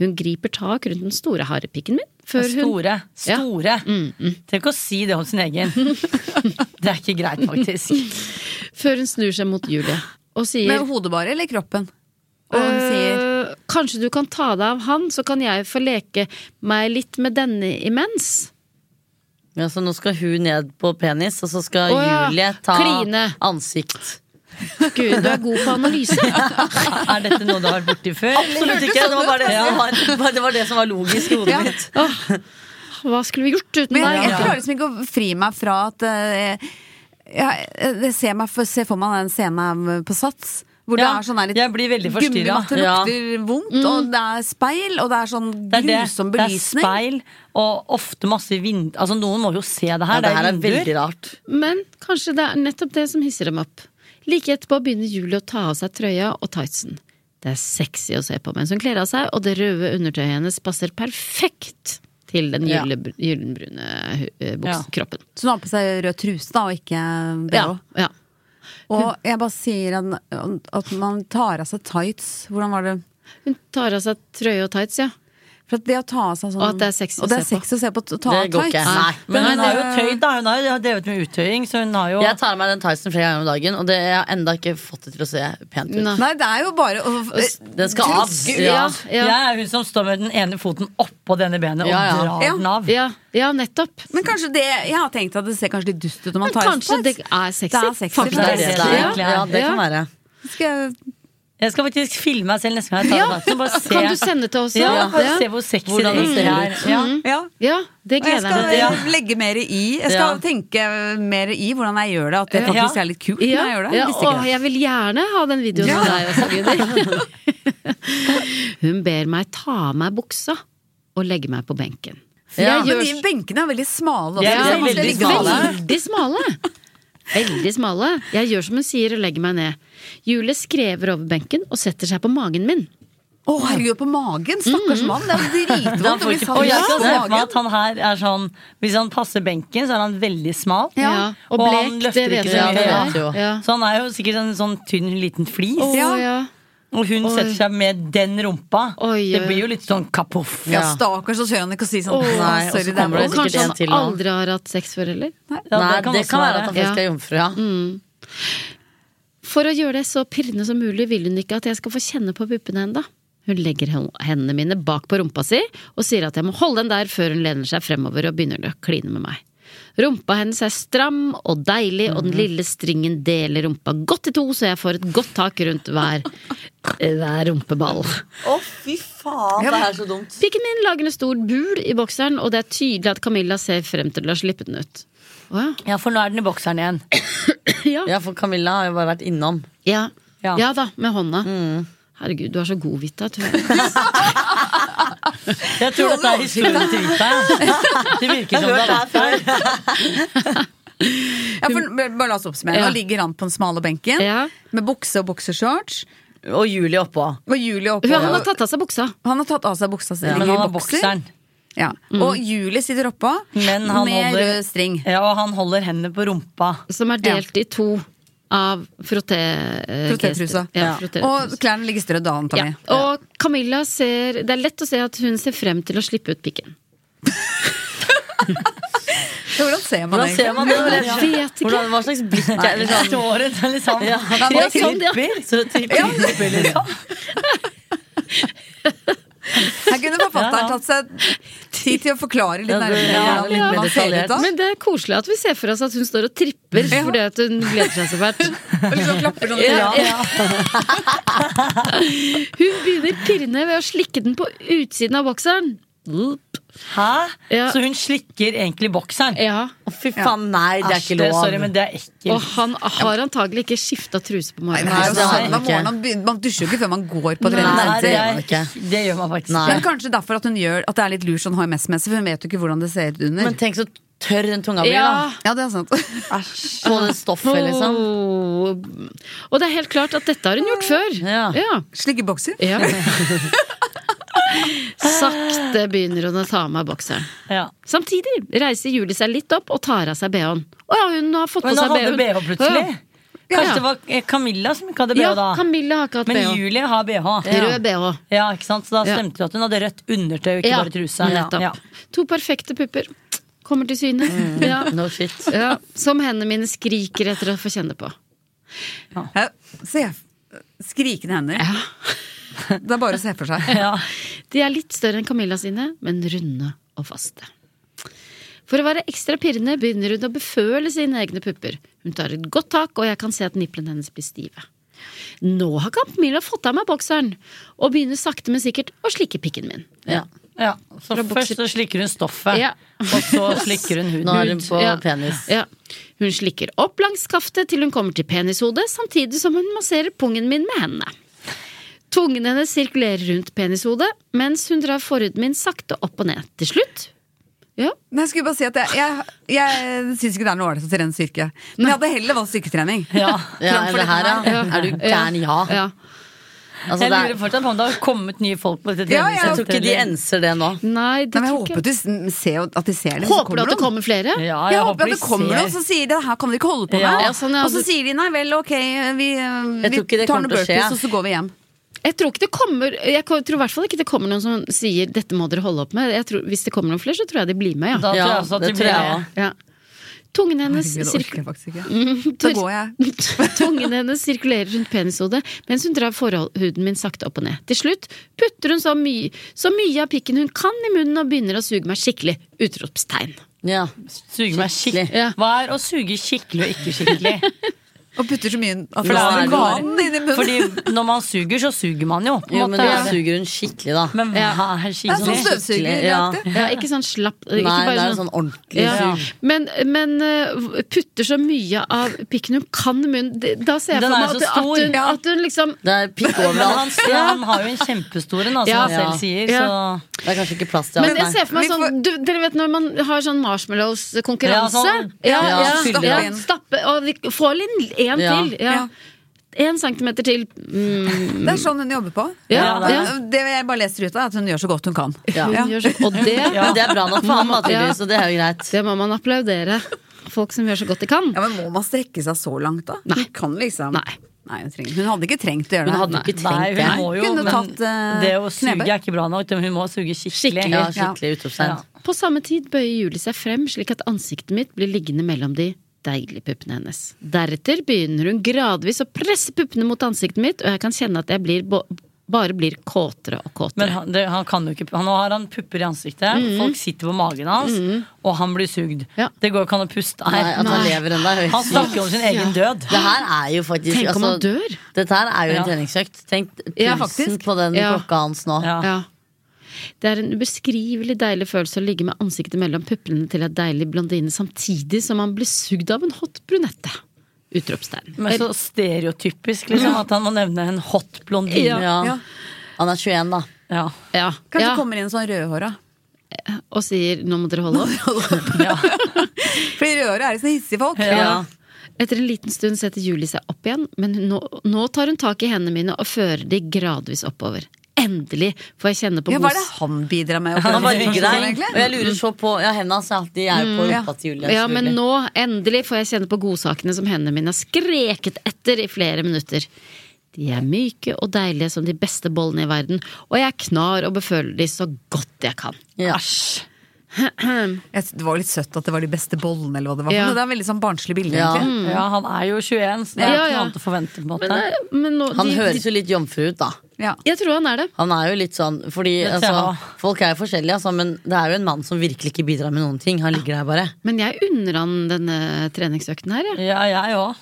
[SPEAKER 2] Hun griper tak rundt den store harepikken min før hun
[SPEAKER 6] Store.
[SPEAKER 2] Ja.
[SPEAKER 6] Store.
[SPEAKER 5] Mm,
[SPEAKER 6] Trenger ikke å si det om sin egen. Det er ikke greit, faktisk.
[SPEAKER 2] Før hun snur seg mot Julie og sier
[SPEAKER 1] Med hodet bare, eller kroppen? Og hun sier
[SPEAKER 2] «Øh, Kanskje du kan ta deg av han, så kan jeg få leke meg litt med denne imens.
[SPEAKER 5] Ja, så nå skal hun ned på penis, og så skal
[SPEAKER 2] Å, ja.
[SPEAKER 5] Julie ta
[SPEAKER 2] Kline.
[SPEAKER 5] ansikt.
[SPEAKER 2] Gud, du er god på analyse!
[SPEAKER 6] Er dette noe du har vært borti før?
[SPEAKER 5] Absolutt ikke! Det var bare det, som var, det, var det som var logisk i hodet
[SPEAKER 1] Ja.
[SPEAKER 5] mitt.
[SPEAKER 2] Hva skulle vi gjort uten
[SPEAKER 1] Men jeg,
[SPEAKER 2] deg?
[SPEAKER 1] jeg klarer liksom ikke å fri meg fra at eh, jeg, jeg ser, meg for, ser for meg den scenen av- øh, på Sats. Hvor
[SPEAKER 6] Ja,
[SPEAKER 1] det er sånn der,
[SPEAKER 6] jeg blir veldig forstyrret. Mm.
[SPEAKER 1] Gummimatte
[SPEAKER 5] Ja.
[SPEAKER 1] lukter vondt, og det er speil, og det er sånn
[SPEAKER 6] Det er, det.
[SPEAKER 1] grusom
[SPEAKER 6] det er
[SPEAKER 1] belysning.
[SPEAKER 6] speil og ofte masse vind... Altså, noen må jo se det
[SPEAKER 5] Ja,
[SPEAKER 6] her.
[SPEAKER 5] det her er
[SPEAKER 6] det er
[SPEAKER 5] veldig
[SPEAKER 6] vinduer.
[SPEAKER 5] rart.
[SPEAKER 2] Men kanskje det er nettopp det som hisser dem opp. Like etterpå begynner Julie å ta av seg trøya og tightsen. Det er sexy å se på mens hun kler av seg, og det røde undertøyet hennes passer perfekt til den
[SPEAKER 5] Ja.
[SPEAKER 2] gylle- gyllenbrune hu- eh, buks-
[SPEAKER 6] Ja.
[SPEAKER 2] kroppen.
[SPEAKER 1] Så hun har på seg rød truse, da, og ikke BH.
[SPEAKER 2] Ja, ja.
[SPEAKER 1] Og jeg bare sier at, at man tar av seg tights. Hvordan var det?
[SPEAKER 2] Hun tar av seg trøye og tights, ja.
[SPEAKER 1] For at det å ta av seg sånn
[SPEAKER 2] Og at det er sexy å
[SPEAKER 1] og det er
[SPEAKER 2] se på.
[SPEAKER 1] sexy å se på. å Ta
[SPEAKER 5] Det
[SPEAKER 1] av
[SPEAKER 5] går
[SPEAKER 1] tights.
[SPEAKER 5] ikke. Nei.
[SPEAKER 6] Men
[SPEAKER 1] Den
[SPEAKER 6] hun har jo
[SPEAKER 1] er-
[SPEAKER 6] tøyd, da. Hun har jo drevet med uttøying, så hun har jo
[SPEAKER 5] Jeg tar av meg den tightsen flere ganger om dagen, og det jeg har enda ikke fått det til å se pent ut.
[SPEAKER 2] Nei.
[SPEAKER 1] Nei, det er jo bare å Eh,
[SPEAKER 5] Den skal av.
[SPEAKER 2] Ja, ja,
[SPEAKER 6] Jeg er hun som står med den ene foten oppå denne benet
[SPEAKER 5] Ja, ja.
[SPEAKER 6] og drar
[SPEAKER 1] Ja.
[SPEAKER 6] den av.
[SPEAKER 2] ja, ja nettopp.
[SPEAKER 1] Men kanskje det Jeg har tenkt at det ser kanskje litt dust ut når man
[SPEAKER 2] Men
[SPEAKER 1] tar av
[SPEAKER 2] kanskje
[SPEAKER 1] seg
[SPEAKER 2] det
[SPEAKER 1] tights.
[SPEAKER 2] er sexy?
[SPEAKER 1] Det er sexy,
[SPEAKER 2] Faktisk.
[SPEAKER 5] Det er det det er.
[SPEAKER 6] Ja.
[SPEAKER 5] Ja, det kan være.
[SPEAKER 1] Skal jeg-
[SPEAKER 6] Jeg skal faktisk filme meg selv neste gang jeg tar av tightsen. Bare se.
[SPEAKER 2] Kan du sende til oss?
[SPEAKER 6] ja,
[SPEAKER 2] da?
[SPEAKER 6] bare
[SPEAKER 2] Ja.
[SPEAKER 6] se hvor sexy
[SPEAKER 5] Hvordan
[SPEAKER 6] det
[SPEAKER 5] det
[SPEAKER 6] egentlig
[SPEAKER 5] ser
[SPEAKER 6] er. Ja.
[SPEAKER 1] Ja.
[SPEAKER 2] ja, det
[SPEAKER 1] Og
[SPEAKER 2] Mm. gleder jeg
[SPEAKER 1] jeg
[SPEAKER 2] meg
[SPEAKER 1] skal
[SPEAKER 2] til.
[SPEAKER 1] eh, legge mer i. Jeg skal
[SPEAKER 5] Ja.
[SPEAKER 1] tenke mer i hvordan jeg gjør det. At det
[SPEAKER 6] Ja.
[SPEAKER 1] faktisk er litt kult når
[SPEAKER 2] Ja,
[SPEAKER 1] jeg gjør det.
[SPEAKER 2] ja,
[SPEAKER 1] Jeg visste ikke
[SPEAKER 2] å,
[SPEAKER 1] det.
[SPEAKER 2] jeg vil gjerne ha den videoen av deg også, Gunnhild. Hun ber meg ta av meg buksa og legge meg på benken. Jeg
[SPEAKER 1] Ja, men
[SPEAKER 2] gjør- sånn.
[SPEAKER 1] de benkene er veldig smale også.
[SPEAKER 6] Ja,
[SPEAKER 1] så man
[SPEAKER 6] veldig
[SPEAKER 1] skal ligge
[SPEAKER 6] smale.
[SPEAKER 1] på dem.
[SPEAKER 2] Veldig smale. Veldig smale. Jeg gjør som hun sier og legger meg ned. Julie skrever over benken og setter seg på magen min.
[SPEAKER 1] Å, herregud, på magen! Stakkars
[SPEAKER 2] Mm.
[SPEAKER 1] mann, det er
[SPEAKER 5] Da
[SPEAKER 1] dritvondt å
[SPEAKER 5] får
[SPEAKER 1] bli
[SPEAKER 5] ikke-
[SPEAKER 1] satt
[SPEAKER 6] Og jeg
[SPEAKER 1] på
[SPEAKER 6] kan se for meg
[SPEAKER 1] magen.
[SPEAKER 6] at han her er sånn Hvis han passer benken, så er han veldig smal.
[SPEAKER 2] Ja, og
[SPEAKER 6] han
[SPEAKER 2] blek, det
[SPEAKER 6] løfter
[SPEAKER 2] vet
[SPEAKER 6] ikke
[SPEAKER 2] du.
[SPEAKER 6] så
[SPEAKER 5] det
[SPEAKER 6] mye.
[SPEAKER 5] vet jo.
[SPEAKER 2] Ja. Ja.
[SPEAKER 6] Så han er jo sikkert en sånn tynn liten flis.
[SPEAKER 2] Å,
[SPEAKER 1] Ja.
[SPEAKER 2] ja.
[SPEAKER 6] Og hun
[SPEAKER 2] Oi.
[SPEAKER 6] setter seg med den rumpa.
[SPEAKER 2] Oi,
[SPEAKER 6] Det
[SPEAKER 2] oi.
[SPEAKER 6] blir jo litt sånn kapoff.
[SPEAKER 1] Ja,
[SPEAKER 5] Ja.
[SPEAKER 1] stakkars, så tør han ikke å si sånn.
[SPEAKER 2] Åh,
[SPEAKER 1] Nei,
[SPEAKER 5] og
[SPEAKER 1] sorry,
[SPEAKER 5] så
[SPEAKER 1] det er
[SPEAKER 5] kommer det
[SPEAKER 2] Og
[SPEAKER 1] vondt.
[SPEAKER 5] sikkert
[SPEAKER 2] kanskje
[SPEAKER 5] en
[SPEAKER 2] han
[SPEAKER 5] til nå.
[SPEAKER 2] aldri har hatt sex før heller.
[SPEAKER 6] Ja,
[SPEAKER 5] Nei, det
[SPEAKER 6] også
[SPEAKER 5] kan være at han
[SPEAKER 2] være.
[SPEAKER 5] faktisk er jomfru, ja.
[SPEAKER 2] Mm. For å gjøre det så pirrende som mulig vil hun ikke at jeg skal få kjenne på puppene enda. Hun legger hen- hendene mine bak på rumpa si og sier at jeg må holde den der før hun lener seg fremover og begynner å kline med meg. Rumpa hennes er stram og deilig, og den lille stringen deler rumpa godt i to, så jeg får et godt tak rundt hver, eh, hver rumpeball.
[SPEAKER 5] Å, fy faen, det er så dumt.
[SPEAKER 2] Pikken min lager en stor bul i bokseren, og det er tydelig at Camilla ser frem til å slippe den ut. Å ja.
[SPEAKER 6] Ja, for nå er den i bokseren igjen.
[SPEAKER 2] Ja.
[SPEAKER 5] Ja, for Camilla har jo bare vært innom.
[SPEAKER 2] Ja.
[SPEAKER 6] Ja.
[SPEAKER 2] ja Mm. da, med hånda. Herregud, du er så god, Vita. tror jeg.
[SPEAKER 6] Jeg tror dette er historien til Vita. Det virker som det har vært der.
[SPEAKER 1] Ja, for, bare la oss oppsummere.
[SPEAKER 2] Ja.
[SPEAKER 1] Nå ligger han på den smale benken
[SPEAKER 2] Ja.
[SPEAKER 1] med bukse og boksershorts.
[SPEAKER 5] Og Julie oppå.
[SPEAKER 1] Og Julie oppå.
[SPEAKER 2] Hun, han har tatt av seg buksa.
[SPEAKER 1] han har tatt av seg buksa si.
[SPEAKER 6] Men
[SPEAKER 1] ligger i
[SPEAKER 6] han har
[SPEAKER 1] bokser.
[SPEAKER 6] bokseren.
[SPEAKER 1] Ja. Og Julie sitter oppå
[SPEAKER 6] Men han
[SPEAKER 1] med
[SPEAKER 6] holder-
[SPEAKER 1] rød string.
[SPEAKER 6] Ja, og han holder hendene på rumpa.
[SPEAKER 2] Som er delt i to av frotté... eh, gester.
[SPEAKER 1] Frottétrusa.
[SPEAKER 2] Ja,
[SPEAKER 1] Og
[SPEAKER 2] frottétrusa.
[SPEAKER 1] klærne ligger strødd av,
[SPEAKER 2] Ja.
[SPEAKER 1] antar jeg.
[SPEAKER 2] Og Camilla ser Det er lett å se at hun ser frem til å slippe ut pikken.
[SPEAKER 1] Så Hvordan ser man
[SPEAKER 5] Hvordan
[SPEAKER 1] det?
[SPEAKER 5] ser man det?
[SPEAKER 2] Jeg vet ikke.
[SPEAKER 5] Hvordan, hva slags blikk er det? Sånn.
[SPEAKER 6] Står hun der liksom
[SPEAKER 5] Ja,
[SPEAKER 6] Ja,
[SPEAKER 2] sånn, ja.
[SPEAKER 6] tripper.
[SPEAKER 5] Så det tripper.
[SPEAKER 6] Tripper, liksom.
[SPEAKER 1] Her kunne forfatteren
[SPEAKER 6] Ja, ja.
[SPEAKER 1] tatt seg tid til å forklare litt
[SPEAKER 5] Ja, det-
[SPEAKER 1] nærmere
[SPEAKER 5] ja,
[SPEAKER 1] hvordan
[SPEAKER 5] litt mer
[SPEAKER 1] man ser ut da.
[SPEAKER 2] Men det er koselig at vi ser for oss at hun står og tripper fordi at hun gleder seg så fælt.
[SPEAKER 1] Og liksom klapper sånn.
[SPEAKER 2] Ja,
[SPEAKER 1] Ja.
[SPEAKER 2] Hun begynner pirrende ved å slikke den på utsiden av bokseren.
[SPEAKER 6] Hæ?
[SPEAKER 2] Ja.
[SPEAKER 6] Så hun slikker egentlig bokseren?
[SPEAKER 2] Ja,
[SPEAKER 5] Fy faen, nei, det er
[SPEAKER 6] Æsj,
[SPEAKER 5] ikke lov.
[SPEAKER 6] Sorry, men det er ekkelt.
[SPEAKER 2] Og han har antagelig ikke skifta truse på
[SPEAKER 1] Nei,
[SPEAKER 2] morgenen.
[SPEAKER 1] det er jo
[SPEAKER 5] det har
[SPEAKER 1] sånn
[SPEAKER 5] jeg
[SPEAKER 1] man
[SPEAKER 5] ikke.
[SPEAKER 1] morgenen, begynner- Man dusjer jo ikke før man går på trening.
[SPEAKER 6] Nei, det,
[SPEAKER 5] gjør man
[SPEAKER 6] er,
[SPEAKER 5] ikke.
[SPEAKER 6] det gjør man faktisk
[SPEAKER 5] Nei.
[SPEAKER 6] ikke.
[SPEAKER 1] Men kanskje derfor at hun gjør At det er litt lurt sånn HMS-messig, for hun vet jo ikke hvordan det ser ut under.
[SPEAKER 5] Men tenk så tørr den tunga blir,
[SPEAKER 2] Ja.
[SPEAKER 5] da.
[SPEAKER 1] ja, det er sant.
[SPEAKER 5] På det stoffet, liksom.
[SPEAKER 2] Åh. sånn. Og det er helt klart at dette har hun gjort før.
[SPEAKER 5] Ja.
[SPEAKER 2] ja.
[SPEAKER 1] Slikke bokser.
[SPEAKER 2] Ja. Sakte begynner hun å ta av meg bokseren.
[SPEAKER 6] Ja.
[SPEAKER 2] Samtidig reiser Julie seg litt opp og tar av seg bh-en. Å ja, hun har fått på
[SPEAKER 6] Men
[SPEAKER 2] seg
[SPEAKER 6] han hadde
[SPEAKER 2] bh-en.
[SPEAKER 6] BH plutselig.
[SPEAKER 2] Å,
[SPEAKER 6] Kanskje
[SPEAKER 2] Ja.
[SPEAKER 6] det var eh, Camilla som ikke hadde BH
[SPEAKER 2] Ja,
[SPEAKER 6] da.
[SPEAKER 2] ja Camilla har ikke hatt
[SPEAKER 6] Men
[SPEAKER 2] bh.
[SPEAKER 6] Julie har BH.
[SPEAKER 2] Rød bh.
[SPEAKER 6] Ja, ikke sant? Så da
[SPEAKER 2] Ja.
[SPEAKER 6] stemte det at hun hadde rødt undertøy, ikke
[SPEAKER 2] Ja,
[SPEAKER 6] bare truse.
[SPEAKER 2] nettopp.
[SPEAKER 6] Ja. Mm.
[SPEAKER 2] To perfekte pupper kommer til syne. Ja.
[SPEAKER 5] No shit.
[SPEAKER 2] Ja. Som hendene mine skriker etter å få kjenne på.
[SPEAKER 1] Ja, Se. Skrikende hender. Det er bare å se for seg.
[SPEAKER 6] Ja.
[SPEAKER 2] De er litt større enn Camilla sine, men runde og faste. For å være ekstra pirrende begynner hun å beføle sine egne pupper. Hun tar et godt tak, og jeg kan se at nipplene hennes blir stive. Nå har Camilla fått av meg bokseren, og begynner sakte, men sikkert å slikke pikken min.
[SPEAKER 6] Ja. Så
[SPEAKER 2] Fra
[SPEAKER 6] først
[SPEAKER 2] bokser-
[SPEAKER 6] så slikker hun stoffet,
[SPEAKER 2] Ja.
[SPEAKER 6] og så slikker hun huden.
[SPEAKER 5] Nå er hun på
[SPEAKER 2] Ja.
[SPEAKER 5] penis.
[SPEAKER 2] Ja. Hun slikker opp langs skaftet til hun kommer til penishodet, samtidig som hun masserer pungen min med hendene. Tungen hennes sirkulerer rundt penishodet, mens hun drar forhuden min sakte opp og ned. Til slutt Ja,
[SPEAKER 1] Men jeg skulle bare si at jeg, jeg, jeg syns ikke det er noe ålreit å trene styrke. Men jeg hadde heller valgt styrketrening.
[SPEAKER 6] Ja.
[SPEAKER 5] Ja,
[SPEAKER 1] Framfor
[SPEAKER 5] det
[SPEAKER 1] dette
[SPEAKER 5] her, ja.
[SPEAKER 2] her.
[SPEAKER 5] Er du gæren? Ja.
[SPEAKER 2] ja.
[SPEAKER 5] Altså,
[SPEAKER 6] Jeg
[SPEAKER 5] det
[SPEAKER 6] lurer
[SPEAKER 5] er,
[SPEAKER 6] fortsatt på om det har kommet nye folk på dette
[SPEAKER 1] Ja, ja.
[SPEAKER 5] jeg tror
[SPEAKER 6] treningssenteret.
[SPEAKER 5] ikke de enser det nå.
[SPEAKER 2] Nei, det
[SPEAKER 1] Nei, men jeg
[SPEAKER 2] tror
[SPEAKER 1] håper
[SPEAKER 2] ikke
[SPEAKER 1] du s- ser jo- at de ser det. så
[SPEAKER 2] Håper du at det
[SPEAKER 1] noen.
[SPEAKER 2] kommer flere?
[SPEAKER 6] Ja,
[SPEAKER 1] jeg, håper at det
[SPEAKER 6] de
[SPEAKER 1] kommer
[SPEAKER 6] ser.
[SPEAKER 1] noen som sier det her kan dere ikke holde på med.
[SPEAKER 6] Ja.
[SPEAKER 2] Ja, sånn, ja,
[SPEAKER 1] og så
[SPEAKER 2] du-
[SPEAKER 1] sier de nei vel, ok, vi, eh, vi
[SPEAKER 5] tror ikke det
[SPEAKER 1] tar
[SPEAKER 5] kommer
[SPEAKER 1] noen
[SPEAKER 5] til å skje.
[SPEAKER 1] burpees og så går vi hjem.
[SPEAKER 2] Jeg tror ikke det kommer Jeg ko- tror i hvert fall ikke det kommer noen som sier 'dette må dere holde opp med'. Jeg tror, hvis det kommer noen flere, så tror jeg de blir med, ja.
[SPEAKER 6] Da tror jeg
[SPEAKER 5] Ja,
[SPEAKER 6] også at
[SPEAKER 5] det
[SPEAKER 6] de
[SPEAKER 5] tror
[SPEAKER 6] blir
[SPEAKER 5] jeg
[SPEAKER 6] med.
[SPEAKER 5] også.
[SPEAKER 2] ja. Tungen hennes
[SPEAKER 1] Herregud, det orker
[SPEAKER 2] sirk-
[SPEAKER 1] jeg faktisk ikke. Da går jeg.
[SPEAKER 2] Tungen hennes sirkulerer rundt penishodet mens hun drar forhuden min sakte opp og ned. Til slutt putter hun så mye, så mye av pikken hun kan i munnen og begynner å suge meg skikkelig. Utropstegn.
[SPEAKER 5] Ja.
[SPEAKER 6] Suge meg skikkelig.
[SPEAKER 2] Ja.
[SPEAKER 6] Hva er å suge skikkelig og ikke skikkelig?
[SPEAKER 1] Og putter så mye at
[SPEAKER 6] For
[SPEAKER 1] det
[SPEAKER 6] da
[SPEAKER 1] er
[SPEAKER 6] er det
[SPEAKER 1] vann inni munnen.
[SPEAKER 6] Fordi når man suger, så suger man jo. På en
[SPEAKER 5] Jo, men
[SPEAKER 6] måte.
[SPEAKER 5] da
[SPEAKER 6] Ja.
[SPEAKER 5] suger hun skikkelig, da.
[SPEAKER 6] Men hva
[SPEAKER 1] det
[SPEAKER 6] er
[SPEAKER 1] er sånn
[SPEAKER 6] skikkelig?
[SPEAKER 1] støvsugeraktig.
[SPEAKER 2] Ja, ikke sånn slapp
[SPEAKER 5] Nei,
[SPEAKER 2] ikke bare
[SPEAKER 5] det er
[SPEAKER 2] sånn-
[SPEAKER 5] sånn ordentlig
[SPEAKER 2] Ja.
[SPEAKER 5] sug.
[SPEAKER 2] Men, men eh, putter så mye av pikken hun kan i munnen det- Da ser jeg
[SPEAKER 6] Den
[SPEAKER 2] for
[SPEAKER 6] er
[SPEAKER 2] meg
[SPEAKER 6] så
[SPEAKER 2] at, at,
[SPEAKER 6] stor.
[SPEAKER 2] hun,
[SPEAKER 6] Ja.
[SPEAKER 2] at hun liksom
[SPEAKER 5] Det er pikk
[SPEAKER 6] Men han,
[SPEAKER 5] overalt.
[SPEAKER 6] han har jo en kjempestor en, da, som
[SPEAKER 2] Ja.
[SPEAKER 6] han selv sier.
[SPEAKER 2] Ja.
[SPEAKER 6] Så
[SPEAKER 5] Det er kanskje ikke plass til
[SPEAKER 2] men jeg
[SPEAKER 5] alt, nei.
[SPEAKER 2] ser for meg
[SPEAKER 1] Vi får-
[SPEAKER 2] sånn du, Dere vet når man har sånn marshmallows-konkurranse?
[SPEAKER 6] Ja, sånn.
[SPEAKER 2] ja,
[SPEAKER 5] Ja,
[SPEAKER 2] ja,
[SPEAKER 1] stappe
[SPEAKER 2] ja,
[SPEAKER 1] inn.
[SPEAKER 2] stappe Og vi får inn én
[SPEAKER 5] Ja.
[SPEAKER 2] til. Ja.
[SPEAKER 1] Ja.
[SPEAKER 2] En centimeter til. Mm,
[SPEAKER 1] Det er sånn hun jobber på.
[SPEAKER 2] ja,
[SPEAKER 6] Ja, det
[SPEAKER 2] ja.
[SPEAKER 1] Det jeg bare leser ut av, er at hun gjør så godt hun kan.
[SPEAKER 5] Ja.
[SPEAKER 2] Hun gjør så, og det,
[SPEAKER 5] Men det er bra nok for ham, da, tydeligvis, så det er jo greit.
[SPEAKER 2] det må man applaudere. Folk som gjør så godt de kan.
[SPEAKER 1] Ja, men Må man strekke seg så langt, da?
[SPEAKER 2] Nei.
[SPEAKER 1] Hun kan liksom
[SPEAKER 2] Nei.
[SPEAKER 1] Nei, hun, trenger, hun hadde ikke trengt å gjøre
[SPEAKER 5] Hun
[SPEAKER 1] det.
[SPEAKER 5] hadde jo ikke
[SPEAKER 6] nei,
[SPEAKER 5] trengt det.
[SPEAKER 6] hun må jo,
[SPEAKER 1] Kunne
[SPEAKER 6] men
[SPEAKER 1] tatt, eh,
[SPEAKER 6] det å suge
[SPEAKER 1] knebøy.
[SPEAKER 6] er ikke bra nok. Hun må suge skikkelig.
[SPEAKER 5] Ja,
[SPEAKER 1] Ja.
[SPEAKER 5] skikkelig utropstegn.
[SPEAKER 2] På samme tid bøyer Julie seg frem slik at ansiktet mitt blir liggende mellom de deilige puppene hennes. Deretter begynner hun gradvis å presse puppene mot ansiktet mitt, og jeg kan kjenne at jeg blir, bo- bare blir kåtere og kåtere.
[SPEAKER 6] Men han, det, han kan jo ikke han, Nå har han pupper i ansiktet,
[SPEAKER 5] Mhm.
[SPEAKER 6] folk sitter på magen hans, og han blir sugd.
[SPEAKER 2] Ja.
[SPEAKER 6] Det går jo ikke an å puste.
[SPEAKER 5] Nei, at han
[SPEAKER 2] Nei.
[SPEAKER 5] lever ennå, er jo
[SPEAKER 6] Han
[SPEAKER 5] helt sykt.
[SPEAKER 6] snakker om sin egen død.
[SPEAKER 5] Det her er jo faktisk
[SPEAKER 2] Tenk om han
[SPEAKER 5] altså,
[SPEAKER 2] dør!
[SPEAKER 5] Dette her er jo en
[SPEAKER 6] Ja.
[SPEAKER 5] treningsøkt. Tenk pulsen
[SPEAKER 2] Ja, faktisk.
[SPEAKER 5] på den
[SPEAKER 2] Ja.
[SPEAKER 5] klokka hans nå.
[SPEAKER 6] Ja.
[SPEAKER 2] Ja. Det er en ubeskrivelig deilig følelse å ligge med ansiktet mellom puppene til en deilig blondine samtidig som man blir sugd av en hot brunette. Utropstegn.
[SPEAKER 6] Men så stereotypisk liksom, at han må nevne en hot blondine.
[SPEAKER 5] Ja.
[SPEAKER 1] Ja.
[SPEAKER 5] Han er 21, da.
[SPEAKER 6] Ja.
[SPEAKER 2] Ja,
[SPEAKER 1] Kanskje
[SPEAKER 2] ja.
[SPEAKER 1] kommer inn sånn rødhåra.
[SPEAKER 2] Og sier 'nå må dere holde opp'.
[SPEAKER 1] Fordi rødhåra er jo sånne hissige folk.
[SPEAKER 6] Ja.
[SPEAKER 2] Etter en liten stund setter Julie seg opp igjen, men nå, nå tar hun tak i hendene mine og fører de gradvis oppover. Endelig får jeg kjenne på
[SPEAKER 1] Ja, hva er det
[SPEAKER 2] god
[SPEAKER 1] han bidrar med?
[SPEAKER 5] Han bare rygger deg. Og
[SPEAKER 1] egentlig?
[SPEAKER 5] jeg lurer så på Ja, hendene hans er alltid er jo på
[SPEAKER 1] ja.
[SPEAKER 5] rumpa til Julie.
[SPEAKER 2] ja, men
[SPEAKER 5] selvfølgelig.
[SPEAKER 2] nå, endelig, får jeg kjenne på godsakene som hendene mine har skreket etter i flere minutter. De er myke og deilige som de beste bollene i verden, og jeg knar og beføler de så godt jeg kan.
[SPEAKER 5] Ja.
[SPEAKER 1] Jeg, det var jo litt søtt at det var de beste bollene, eller hva det var.
[SPEAKER 2] Ja. Mm.
[SPEAKER 1] Men Det er veldig sånn barnslig bilde,
[SPEAKER 5] Ja.
[SPEAKER 1] egentlig.
[SPEAKER 6] Ja, han er jo 21, så det er
[SPEAKER 2] Ja,
[SPEAKER 6] ikke
[SPEAKER 2] ja.
[SPEAKER 6] noe annet å forvente. på en måte
[SPEAKER 2] Men nå,
[SPEAKER 5] Han
[SPEAKER 2] de,
[SPEAKER 5] høres jo litt jomfru ut, da.
[SPEAKER 1] Ja.
[SPEAKER 2] Jeg tror han er det.
[SPEAKER 5] Han er jo litt sånn, fordi
[SPEAKER 6] Litt,
[SPEAKER 5] altså,
[SPEAKER 6] ja.
[SPEAKER 5] Folk er jo forskjellige, altså, men det er jo en mann som virkelig ikke bidrar med noen ting. Han ligger der bare.
[SPEAKER 2] Men jeg unner han denne treningsøkten her, jeg.
[SPEAKER 6] Ja, jeg òg.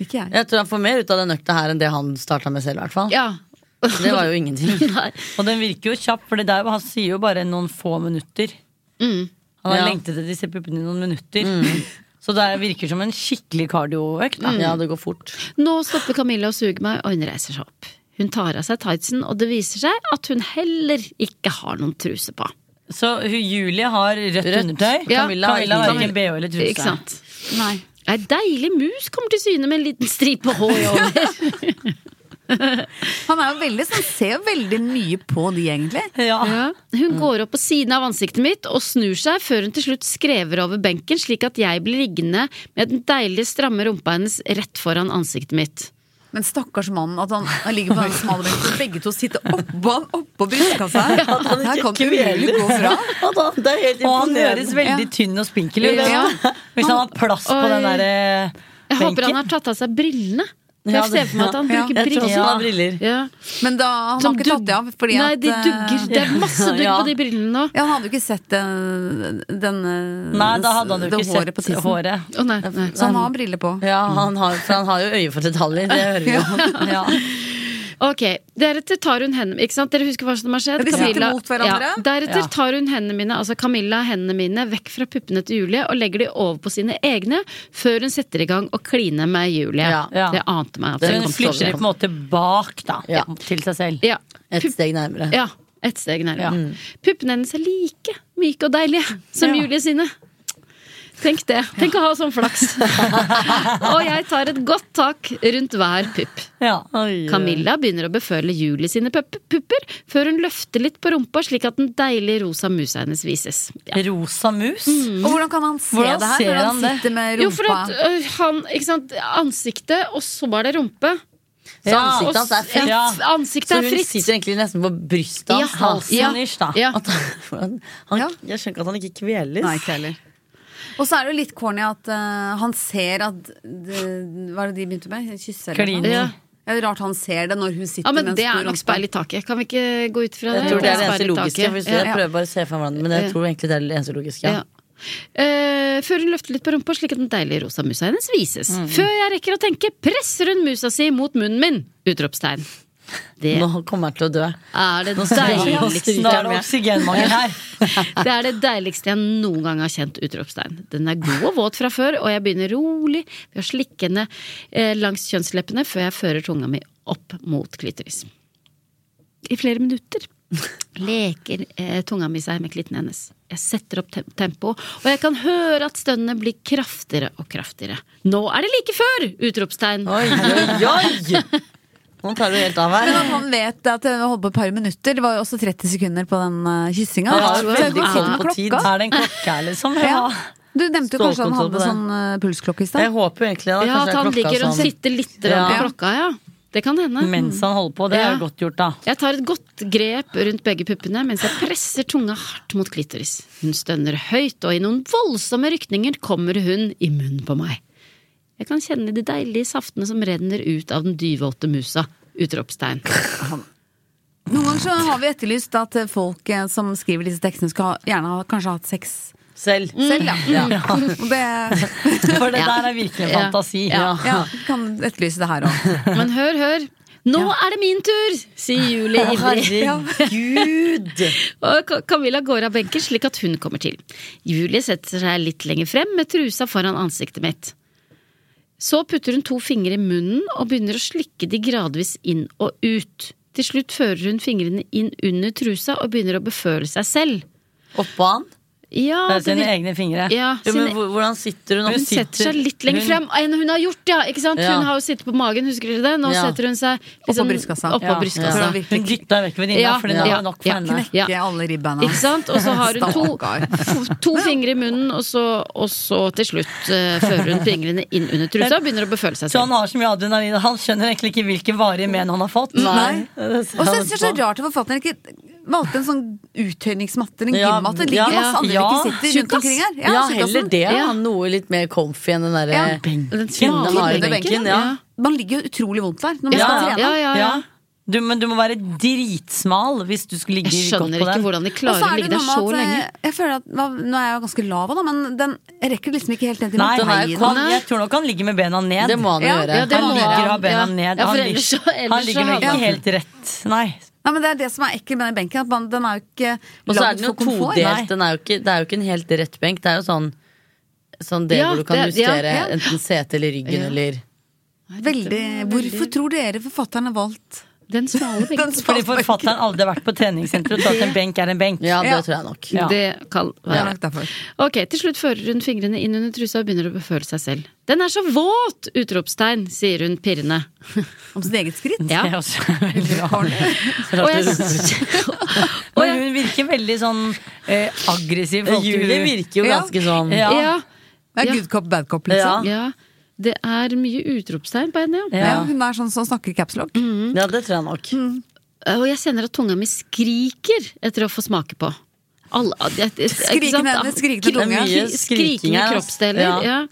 [SPEAKER 1] Ikke jeg.
[SPEAKER 5] Jeg tror han får mer ut av den økta her enn det han starta med selv. i hvert fall
[SPEAKER 2] Ja.
[SPEAKER 5] Det var jo ingenting.
[SPEAKER 2] Nei.
[SPEAKER 6] Og den virker jo kjapp, for det der, han sier jo bare noen få minutter. Han har
[SPEAKER 5] Mm. Ja. Mm.
[SPEAKER 6] lengtet etter disse puppene i noen minutter. Så det virker som en skikkelig kardioøkt. da.
[SPEAKER 5] Ja, det går fort.
[SPEAKER 2] Nå stopper Camilla å suge meg, og hun reiser seg opp. Hun tar av seg tightsen, og det viser seg at hun heller ikke har noen truse på.
[SPEAKER 6] Så hun- Julie har rødt, undertøy.
[SPEAKER 2] Ja.
[SPEAKER 6] Camilla har
[SPEAKER 2] Camilla-
[SPEAKER 6] ikke bh eller truse.
[SPEAKER 2] Ikke sant?
[SPEAKER 1] Nei.
[SPEAKER 2] Ei deilig mus kommer til syne med en liten stripe hår over.
[SPEAKER 1] Han er jo veldig sånn, ser jo veldig mye på de, egentlig.
[SPEAKER 2] Ja.
[SPEAKER 6] Ja.
[SPEAKER 2] Ah,
[SPEAKER 5] Mm.
[SPEAKER 2] Hun går opp på siden av ansiktet mitt og snur seg før hun til slutt skrever over benken, slik at jeg blir liggende med den deilige, stramme rumpa hennes rett foran ansiktet mitt.
[SPEAKER 1] Men stakkars mannen, at han, han ligger på den smale benken, begge to sitter oppå han, oppå brystkassa her. her kan det umulig gå fra.
[SPEAKER 5] Det er helt
[SPEAKER 6] Og han høres veldig
[SPEAKER 1] Ja.
[SPEAKER 6] tynn og spinkel ut.
[SPEAKER 1] Ja.
[SPEAKER 6] Hvis han har plass på
[SPEAKER 2] Oi.
[SPEAKER 6] den der eh,
[SPEAKER 2] Jeg håper han
[SPEAKER 6] benken.
[SPEAKER 2] har tatt av seg brillene. For
[SPEAKER 5] Ja,
[SPEAKER 2] jeg ser
[SPEAKER 5] det-
[SPEAKER 2] for meg at han
[SPEAKER 1] ja.
[SPEAKER 2] bruker
[SPEAKER 5] Jeg tror også
[SPEAKER 2] briller.
[SPEAKER 5] han har briller.
[SPEAKER 2] Ja.
[SPEAKER 1] Men da, han har
[SPEAKER 2] Som
[SPEAKER 1] ikke tatt det av. Fordi
[SPEAKER 2] Nei, de
[SPEAKER 1] at, eh,
[SPEAKER 2] dugger. Det er masse dugg
[SPEAKER 5] Ja.
[SPEAKER 2] på de brillene nå.
[SPEAKER 1] Ja, han hadde jo ikke sett den, den eh,
[SPEAKER 6] Nei, da hadde han jo
[SPEAKER 1] det
[SPEAKER 6] ikke
[SPEAKER 1] håret på
[SPEAKER 6] sett
[SPEAKER 1] tissen.
[SPEAKER 6] håret.
[SPEAKER 2] Å nei, nei.
[SPEAKER 1] Så han har briller på.
[SPEAKER 5] Ja, han har, for han har jo øye for detaljer. Det hører vi jo.
[SPEAKER 6] Ja.
[SPEAKER 2] Ok, Deretter tar hun hendene Ikke sant, Dere husker hva som har skjedd?
[SPEAKER 1] Ja, de sitter mot hverandre.
[SPEAKER 2] Ja. Deretter
[SPEAKER 6] Ja.
[SPEAKER 2] tar hun hendene mine Altså Camilla hendene mine vekk fra puppene til Julie og legger de over på sine egne før hun setter i gang å kline med Julie.
[SPEAKER 5] Ja.
[SPEAKER 6] Ja.
[SPEAKER 2] Det ante meg. at
[SPEAKER 5] Det
[SPEAKER 2] det
[SPEAKER 5] er
[SPEAKER 2] kom
[SPEAKER 6] Hun
[SPEAKER 2] til å
[SPEAKER 6] flytter det på en
[SPEAKER 2] komme.
[SPEAKER 6] måte bak, da.
[SPEAKER 5] Ja.
[SPEAKER 6] Til seg selv.
[SPEAKER 2] Ja.
[SPEAKER 5] Et steg nærmere.
[SPEAKER 2] ja, et steg nærmere.
[SPEAKER 6] Ja.
[SPEAKER 1] Mm.
[SPEAKER 2] Puppene hennes er like myke og deilige som
[SPEAKER 6] Ja.
[SPEAKER 2] Julie sine. Tenk det. Tenk å ha sånn flaks. og jeg tar et godt tak rundt hver pupp.
[SPEAKER 6] Ja.
[SPEAKER 2] Camilla begynner å beføle Julie sine pupp- pupper før hun løfter litt på rumpa slik at den deilige rosa musa hennes vises. Ja.
[SPEAKER 6] Rosa mus.
[SPEAKER 5] Mm.
[SPEAKER 1] Og hvordan kan han se
[SPEAKER 6] Hvordan
[SPEAKER 1] det her?
[SPEAKER 6] ser
[SPEAKER 1] Når
[SPEAKER 6] han
[SPEAKER 1] han
[SPEAKER 6] det?
[SPEAKER 1] sitter med rumpa
[SPEAKER 2] Jo, for at ø, han, ikke sant, ansiktet, og så var det rumpe.
[SPEAKER 5] Så ansiktet hans er fritt.
[SPEAKER 2] Ja,
[SPEAKER 6] Ja.
[SPEAKER 2] ansiktet
[SPEAKER 5] Så
[SPEAKER 2] er
[SPEAKER 5] hun
[SPEAKER 2] fritt.
[SPEAKER 5] sitter egentlig nesten på brystet hans.
[SPEAKER 2] Ja.
[SPEAKER 5] halsen.
[SPEAKER 2] Ja.
[SPEAKER 6] Halsen-ish, da.
[SPEAKER 2] Ja.
[SPEAKER 5] At han- for han- han-
[SPEAKER 1] Ja.
[SPEAKER 5] Jeg skjønner ikke at han ikke kveles.
[SPEAKER 1] Nei, ikke heller. Og så er det jo litt corny at eh, han ser at det, Hva er det de begynte med? Kysse eller noe?
[SPEAKER 6] Klining.
[SPEAKER 2] Ja.
[SPEAKER 1] Ja, det er rart han ser det når hun sitter
[SPEAKER 2] Ja, men
[SPEAKER 1] med en
[SPEAKER 2] det
[SPEAKER 1] stor
[SPEAKER 2] er nok
[SPEAKER 1] rumpe.
[SPEAKER 2] speil i taket. Kan vi ikke gå ut fra det?
[SPEAKER 5] Jeg tror det er det
[SPEAKER 2] Speil
[SPEAKER 5] eneste
[SPEAKER 2] i
[SPEAKER 5] logiske.
[SPEAKER 2] taket.
[SPEAKER 5] Hvis
[SPEAKER 2] Ja.
[SPEAKER 5] jeg prøver bare å se for meg hverandre, men jeg
[SPEAKER 2] Ja.
[SPEAKER 5] tror egentlig det er det eneste logiske.
[SPEAKER 2] Ja. Eh, før hun løfter litt på rumpa, slik at den deilige rosa musa hennes vises.
[SPEAKER 5] Mm.
[SPEAKER 2] Før jeg rekker å tenke, presser hun musa si mot munnen min! Utropstegn. Det
[SPEAKER 5] Nå kommer han til å dø.
[SPEAKER 2] er det
[SPEAKER 5] Nå
[SPEAKER 2] deiligste
[SPEAKER 6] Nå er det oksygenmangel her.
[SPEAKER 2] Det er det deiligste jeg noen gang har kjent! Utropstegn. Den er god og våt fra før, og jeg begynner rolig ved å slikke henne eh, langs kjønnsleppene før jeg fører tunga mi opp mot klitoris. I flere minutter leker eh, tunga mi seg med klitten hennes. Jeg setter opp tem tempoet, og jeg kan høre at stønnene blir kraftigere og kraftigere. Nå er det like før! Utropstegn.
[SPEAKER 5] Oi, oi, oi! Nå tar du helt av
[SPEAKER 1] Men
[SPEAKER 5] her.
[SPEAKER 1] at han vet at det holdt på et par minutter. Det var jo også 30 sekunder på den eh, kyssinga.
[SPEAKER 5] Han har
[SPEAKER 2] altså,
[SPEAKER 1] Så
[SPEAKER 5] veldig
[SPEAKER 1] jeg kan
[SPEAKER 5] kontroll
[SPEAKER 1] sitte med
[SPEAKER 5] på tid.
[SPEAKER 1] klokka.
[SPEAKER 6] Er det en klokke her, liksom?
[SPEAKER 1] Ja. Du nevnte jo kanskje han
[SPEAKER 5] Stålkontroll
[SPEAKER 1] hadde
[SPEAKER 5] på det.
[SPEAKER 1] sånn eh, pulsklokke i
[SPEAKER 5] Jeg
[SPEAKER 1] stad.
[SPEAKER 5] håper jo egentlig da,
[SPEAKER 2] Ja,
[SPEAKER 5] kanskje
[SPEAKER 2] at
[SPEAKER 5] det er
[SPEAKER 2] han
[SPEAKER 5] klokka
[SPEAKER 2] ligger og
[SPEAKER 5] som-
[SPEAKER 2] sitter litt grann på
[SPEAKER 1] Ja.
[SPEAKER 2] klokka, ja. Det kan hende.
[SPEAKER 6] Mens han holder på. Det
[SPEAKER 2] Ja.
[SPEAKER 6] er godt gjort, da.
[SPEAKER 2] Jeg tar et godt grep rundt begge puppene mens jeg presser tunga hardt mot klitoris. Hun stønner høyt, og i noen voldsomme rykninger kommer hun i munnen på meg. Jeg kan kjenne de deilige saftene som renner ut av den dyvåte musa. Utropstegn.
[SPEAKER 1] Noen ganger så har vi etterlyst at eh, folk eh, som skriver disse tekstene, skal ha- gjerne ha kanskje ha hatt sex
[SPEAKER 5] selv.
[SPEAKER 1] selv. Ja. Og det
[SPEAKER 6] For det
[SPEAKER 2] Ja.
[SPEAKER 6] der er virkelig en
[SPEAKER 2] Ja.
[SPEAKER 6] fantasi.
[SPEAKER 2] Ja.
[SPEAKER 1] ja, kan etterlyse det her òg.
[SPEAKER 2] Men hør, hør. Nå er det min tur, sier Julie ivrig.
[SPEAKER 5] Herregud!
[SPEAKER 2] Og Ka- Camilla går av benken slik at hun kommer til. Julie setter seg litt lenger frem med trusa foran ansiktet mitt. Så putter hun to fingre i munnen og begynner å slikke de gradvis inn og ut. Til slutt fører hun fingrene inn under trusa og begynner å beføle seg selv.
[SPEAKER 5] Oppå han?
[SPEAKER 2] Ja,
[SPEAKER 6] Det er
[SPEAKER 2] det
[SPEAKER 6] sine
[SPEAKER 2] vir-
[SPEAKER 6] egne fingre.
[SPEAKER 2] Ja,
[SPEAKER 5] Jo, men
[SPEAKER 2] sine-
[SPEAKER 5] hvor- hvordan sitter hun
[SPEAKER 2] hun
[SPEAKER 5] opp?
[SPEAKER 2] setter seg litt lenger frem
[SPEAKER 6] hun-
[SPEAKER 2] enn hun har gjort, ja! Ikke sant?
[SPEAKER 5] Ja.
[SPEAKER 2] Hun har jo sittet på magen, husker dere det? Nå
[SPEAKER 5] Ja.
[SPEAKER 2] setter hun seg liksom
[SPEAKER 1] Oppå brystkassa.
[SPEAKER 2] Oppå
[SPEAKER 6] Ja.
[SPEAKER 2] brystkassa.
[SPEAKER 1] Ja.
[SPEAKER 6] Hun dytta vekk venninna,
[SPEAKER 2] Ja.
[SPEAKER 6] for det
[SPEAKER 2] Ja.
[SPEAKER 6] var nok for
[SPEAKER 2] Ja.
[SPEAKER 6] henne.
[SPEAKER 2] Ja.
[SPEAKER 1] Ikke alle ribbeina.
[SPEAKER 2] Ikke sant? Og så har hun to,
[SPEAKER 1] Stakkar.
[SPEAKER 2] f- to fingre i munnen, og så, og så til slutt eh, fører hun fingrene inn under trusa og begynner å beføle seg
[SPEAKER 6] Så han
[SPEAKER 2] selv.
[SPEAKER 6] har så mye adrenalin, og han skjønner egentlig ikke hvilke varige men han har fått.
[SPEAKER 1] Nei.
[SPEAKER 6] Det ser
[SPEAKER 1] Og så
[SPEAKER 6] han
[SPEAKER 1] synes jeg det er så
[SPEAKER 6] på.
[SPEAKER 1] rart at forfatteren ikke valgte en sånn uttøyningsmatte eller en
[SPEAKER 5] Ja,
[SPEAKER 1] gymmatte. Det ligger
[SPEAKER 5] ja,
[SPEAKER 1] masse andre
[SPEAKER 6] ja.
[SPEAKER 1] ikke sitter rundt omkring her.
[SPEAKER 5] Ja, heller
[SPEAKER 1] tjukkassen.
[SPEAKER 5] det.
[SPEAKER 2] Ja.
[SPEAKER 5] Han noe litt mer comfy enn den
[SPEAKER 1] Ja.
[SPEAKER 5] derre
[SPEAKER 2] Den
[SPEAKER 5] Kvinnen har i
[SPEAKER 2] smale
[SPEAKER 5] benken, ja.
[SPEAKER 1] Man ligger jo utrolig vondt der når man
[SPEAKER 2] Ja,
[SPEAKER 1] skal
[SPEAKER 2] ja,
[SPEAKER 1] trene.
[SPEAKER 2] ja, ja.
[SPEAKER 6] Ja. Du, men du må være dritsmal hvis du skulle ligge
[SPEAKER 2] Jeg skjønner
[SPEAKER 6] godt på
[SPEAKER 2] ikke
[SPEAKER 6] den.
[SPEAKER 2] hvordan de
[SPEAKER 1] Og
[SPEAKER 2] klarer
[SPEAKER 1] så
[SPEAKER 2] å
[SPEAKER 1] er
[SPEAKER 2] ligge
[SPEAKER 1] det
[SPEAKER 2] der
[SPEAKER 1] noe
[SPEAKER 2] så
[SPEAKER 1] med at
[SPEAKER 2] lenge.
[SPEAKER 1] eh, jeg føler at hva- Nå er jeg jo ganske lav òg, da, men den jeg rekker liksom ikke helt ned til
[SPEAKER 6] Nei,
[SPEAKER 1] midtveien.
[SPEAKER 6] nei, han, jeg tror nok han ligger med bena ned.
[SPEAKER 5] Det må han jo
[SPEAKER 1] Ja,
[SPEAKER 5] gjøre.
[SPEAKER 2] ja, eh? det
[SPEAKER 6] han
[SPEAKER 2] må
[SPEAKER 6] liker
[SPEAKER 2] han.
[SPEAKER 6] å ha bena
[SPEAKER 2] Ja.
[SPEAKER 6] ned.
[SPEAKER 2] Ja, for
[SPEAKER 6] han,
[SPEAKER 2] ellers
[SPEAKER 6] ligger-
[SPEAKER 2] så- ellers
[SPEAKER 6] han
[SPEAKER 2] så
[SPEAKER 6] ligger nok ikke
[SPEAKER 2] havner-
[SPEAKER 6] helt rett. Nei.
[SPEAKER 1] Nei, men Det er det som er ekkelt med den benken. At man, den er jo ikke
[SPEAKER 5] Og så er
[SPEAKER 1] lagd
[SPEAKER 5] den jo
[SPEAKER 1] for komfort.
[SPEAKER 5] todelt. Den er jo ikke, det er jo ikke en helt rett benk. Det er jo sånn, sånn del
[SPEAKER 2] Ja,
[SPEAKER 5] hvor du kan
[SPEAKER 2] det- ja,
[SPEAKER 5] justere
[SPEAKER 2] ja.
[SPEAKER 5] enten setet eller ryggen
[SPEAKER 2] Ja.
[SPEAKER 5] eller
[SPEAKER 1] Veldig, hvorfor tror dere forfatteren har valgt
[SPEAKER 2] Den smale benken.
[SPEAKER 1] den
[SPEAKER 6] Fordi
[SPEAKER 1] smale benken?
[SPEAKER 6] forfatteren aldri har vært på treningssenter og tatt en benk er en benk.
[SPEAKER 5] Ja, det
[SPEAKER 1] Ja.
[SPEAKER 5] tror jeg nok.
[SPEAKER 6] Ja.
[SPEAKER 2] Det kan
[SPEAKER 1] Det er
[SPEAKER 2] være.
[SPEAKER 1] nok derfor.
[SPEAKER 2] Ok, til slutt fører hun fingrene inn under trusa og begynner å beføle seg selv. Den er så våt! Utropstegn, sier hun pirrende.
[SPEAKER 1] Om sitt eget skritt.
[SPEAKER 2] Ja.
[SPEAKER 6] Det er også veldig rart.
[SPEAKER 2] Og jeg, og
[SPEAKER 6] Men
[SPEAKER 2] jeg,
[SPEAKER 6] hun virker veldig sånn eh, aggressiv. forhold til-
[SPEAKER 5] Julie virker jo
[SPEAKER 1] Ja.
[SPEAKER 5] ganske sånn
[SPEAKER 6] Ja.
[SPEAKER 2] ja,
[SPEAKER 1] Det er
[SPEAKER 2] Ja.
[SPEAKER 1] good cop, bad cop, liksom. Ja.
[SPEAKER 2] ja, det er mye utropstegn på henne, ja.
[SPEAKER 6] Ja. Mm.
[SPEAKER 1] hun er sånn som snakker capslog.
[SPEAKER 5] Ja, det tror jeg nok.
[SPEAKER 2] Eh, Og jeg kjenner at tunga mi skriker etter å få smake på. Alle, det- det- ikke sant?
[SPEAKER 1] Skrikende hender,
[SPEAKER 2] Kri-
[SPEAKER 1] skrikende tunge.
[SPEAKER 5] Det er mye skriking
[SPEAKER 2] Skrikende
[SPEAKER 5] her, altså.
[SPEAKER 2] kroppsdeler,
[SPEAKER 5] Ja.
[SPEAKER 2] ja.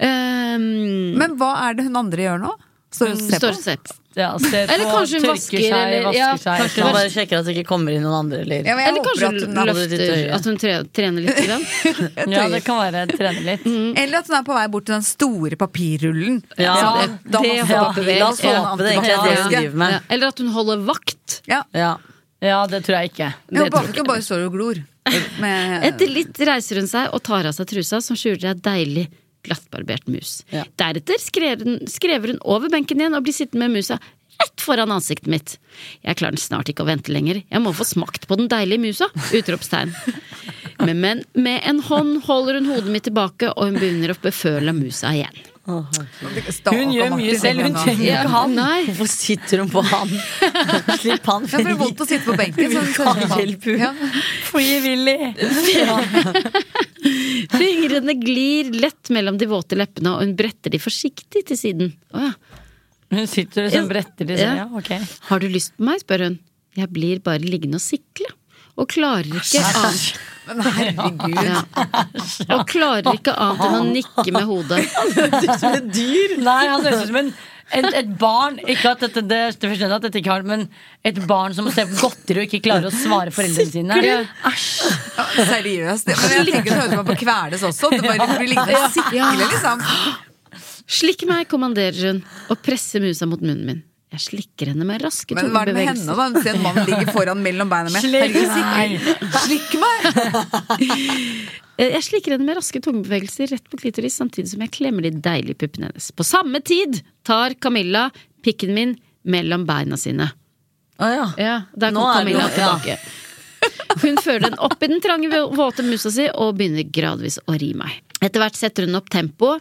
[SPEAKER 2] Ehm,
[SPEAKER 1] Men hva er det hun andre gjør nå? Står hun og ser
[SPEAKER 2] står og
[SPEAKER 1] på?
[SPEAKER 2] ser på.
[SPEAKER 6] Ja, ser
[SPEAKER 2] Eller
[SPEAKER 6] på,
[SPEAKER 2] kanskje hun
[SPEAKER 6] altså- tørker
[SPEAKER 2] vasker,
[SPEAKER 6] seg,
[SPEAKER 2] eller-
[SPEAKER 6] vasker
[SPEAKER 2] ja,
[SPEAKER 6] seg,
[SPEAKER 2] kanskje
[SPEAKER 6] sånn.
[SPEAKER 5] Man bare sjekker at det ikke kommer inn noen andre, eller
[SPEAKER 1] Ja, men jeg
[SPEAKER 2] Eller
[SPEAKER 1] håper
[SPEAKER 2] kanskje
[SPEAKER 1] at hun
[SPEAKER 2] hun
[SPEAKER 1] er,
[SPEAKER 5] holder litt
[SPEAKER 2] løfter
[SPEAKER 5] høyere.
[SPEAKER 2] at hun tre- trener litt. Grann.
[SPEAKER 6] Ja, det kan være trene litt.
[SPEAKER 1] eller at hun er på vei bort til den store papirrullen.
[SPEAKER 5] Ja,
[SPEAKER 1] Så
[SPEAKER 5] det-
[SPEAKER 1] da må
[SPEAKER 2] det
[SPEAKER 1] hun få
[SPEAKER 2] håper
[SPEAKER 1] papir.
[SPEAKER 2] vi.
[SPEAKER 5] La oss
[SPEAKER 1] Så en
[SPEAKER 5] håpe det egentlig er det hun
[SPEAKER 1] antibakterisk.
[SPEAKER 5] driver med.
[SPEAKER 2] Ja. Eller at hun holder vakt.
[SPEAKER 1] Sånn Ja.
[SPEAKER 5] Ja.
[SPEAKER 6] Ja, det tror jeg ikke.
[SPEAKER 1] Jeg
[SPEAKER 2] Det tror
[SPEAKER 1] håper ikke hun bare står og glor. Med,
[SPEAKER 2] Etter litt reiser hun seg og tar av seg trusa, som skjuler ei deilig glattbarbert mus.
[SPEAKER 5] Ja.
[SPEAKER 2] Deretter skrever hun, skrever hun over benken igjen og blir sittende med musa rett foran ansiktet mitt. Jeg klarer snart ikke å vente lenger. Jeg må få smakt på den deilige musa! Utropstegn. Men, men med en hånd holder hun hodet mitt tilbake, og hun begynner å beføle musa igjen.
[SPEAKER 6] Hun gjør mye selv, hun trenger
[SPEAKER 2] Ja,
[SPEAKER 6] ikke han.
[SPEAKER 2] nei.
[SPEAKER 5] Hvorfor sitter hun på han? Slipp han
[SPEAKER 1] Ja, for det er vondt å sitte på benken. så hun
[SPEAKER 5] Vi kan
[SPEAKER 1] trenger han.
[SPEAKER 5] hjelpe hun.
[SPEAKER 1] Ja.
[SPEAKER 6] Frivillig!
[SPEAKER 2] Fingrene glir lett mellom de våte leppene, og hun bretter de forsiktig til siden. Å ja.
[SPEAKER 6] Hun sitter og sånn bretter i seg. Ja, ok.
[SPEAKER 2] Har du lyst på meg? spør hun. Jeg blir bare liggende og sikle. Og klarer ikke annet,
[SPEAKER 1] Men herregud.
[SPEAKER 2] ja. og klarer ikke annet enn å nikke med hodet.
[SPEAKER 6] Som et dyr! Nei, han høres ut som en, et, et barn. Ikke at dette, det, det forstår jeg at dette ikke har Men et barn som må se på godteri og ikke klarer å svare foreldrene sine.
[SPEAKER 1] Seriøst. Men jeg tenker det høres man på kveles også. Det bare blir liggende og sikle, liksom.
[SPEAKER 2] Slikk meg, kommanderer hun, og presser musa mot munnen min. Jeg slikker henne med raske
[SPEAKER 1] Men hva er det med henne,
[SPEAKER 2] tungebevegelser.
[SPEAKER 1] da? Hun ser at mannen ligger foran mellom beina med.
[SPEAKER 6] Slik,
[SPEAKER 1] Herregud,
[SPEAKER 6] nei.
[SPEAKER 1] sikk- Slikk meg!
[SPEAKER 2] Eh, Jeg slikker henne med raske tungebevegelser rett på klitoris, samtidig som jeg klemmer de deilige puppene hennes. På samme tid tar Camilla pikken min mellom beina sine.
[SPEAKER 5] Å ja.
[SPEAKER 2] Ja, der kom
[SPEAKER 5] Nå er
[SPEAKER 2] Camilla
[SPEAKER 5] det-
[SPEAKER 2] tilbake. Hun fører den opp i den trange, våte musa si og begynner gradvis å ri meg. Etter hvert setter hun opp tempoet,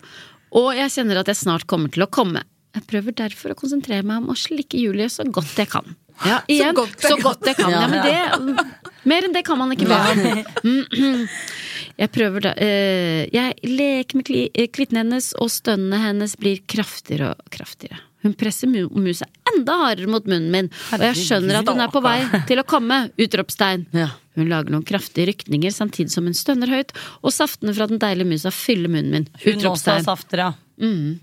[SPEAKER 2] og jeg kjenner at jeg snart kommer til å komme. Jeg prøver derfor å konsentrere meg om å slikke Julie så godt jeg kan. Ja, igjen, så
[SPEAKER 1] godt
[SPEAKER 2] godt jeg,
[SPEAKER 1] jeg
[SPEAKER 2] kan. Ja, men det, mer enn det kan man ikke be om. Jeg prøver da eh, Jeg leker med kli, eh, klitten hennes, og stønnene hennes blir kraftigere og kraftigere. Hun presser mu musa enda hardere mot munnen min, og jeg skjønner at hun er på vei til å komme! Utropstegn.
[SPEAKER 5] Ja.
[SPEAKER 2] Hun lager noen kraftige rykninger samtidig som hun stønner høyt, og saftene fra den deilige musa fyller munnen min.
[SPEAKER 6] Hun også har
[SPEAKER 2] Utropstegn.
[SPEAKER 6] safter, ja.
[SPEAKER 5] Mm.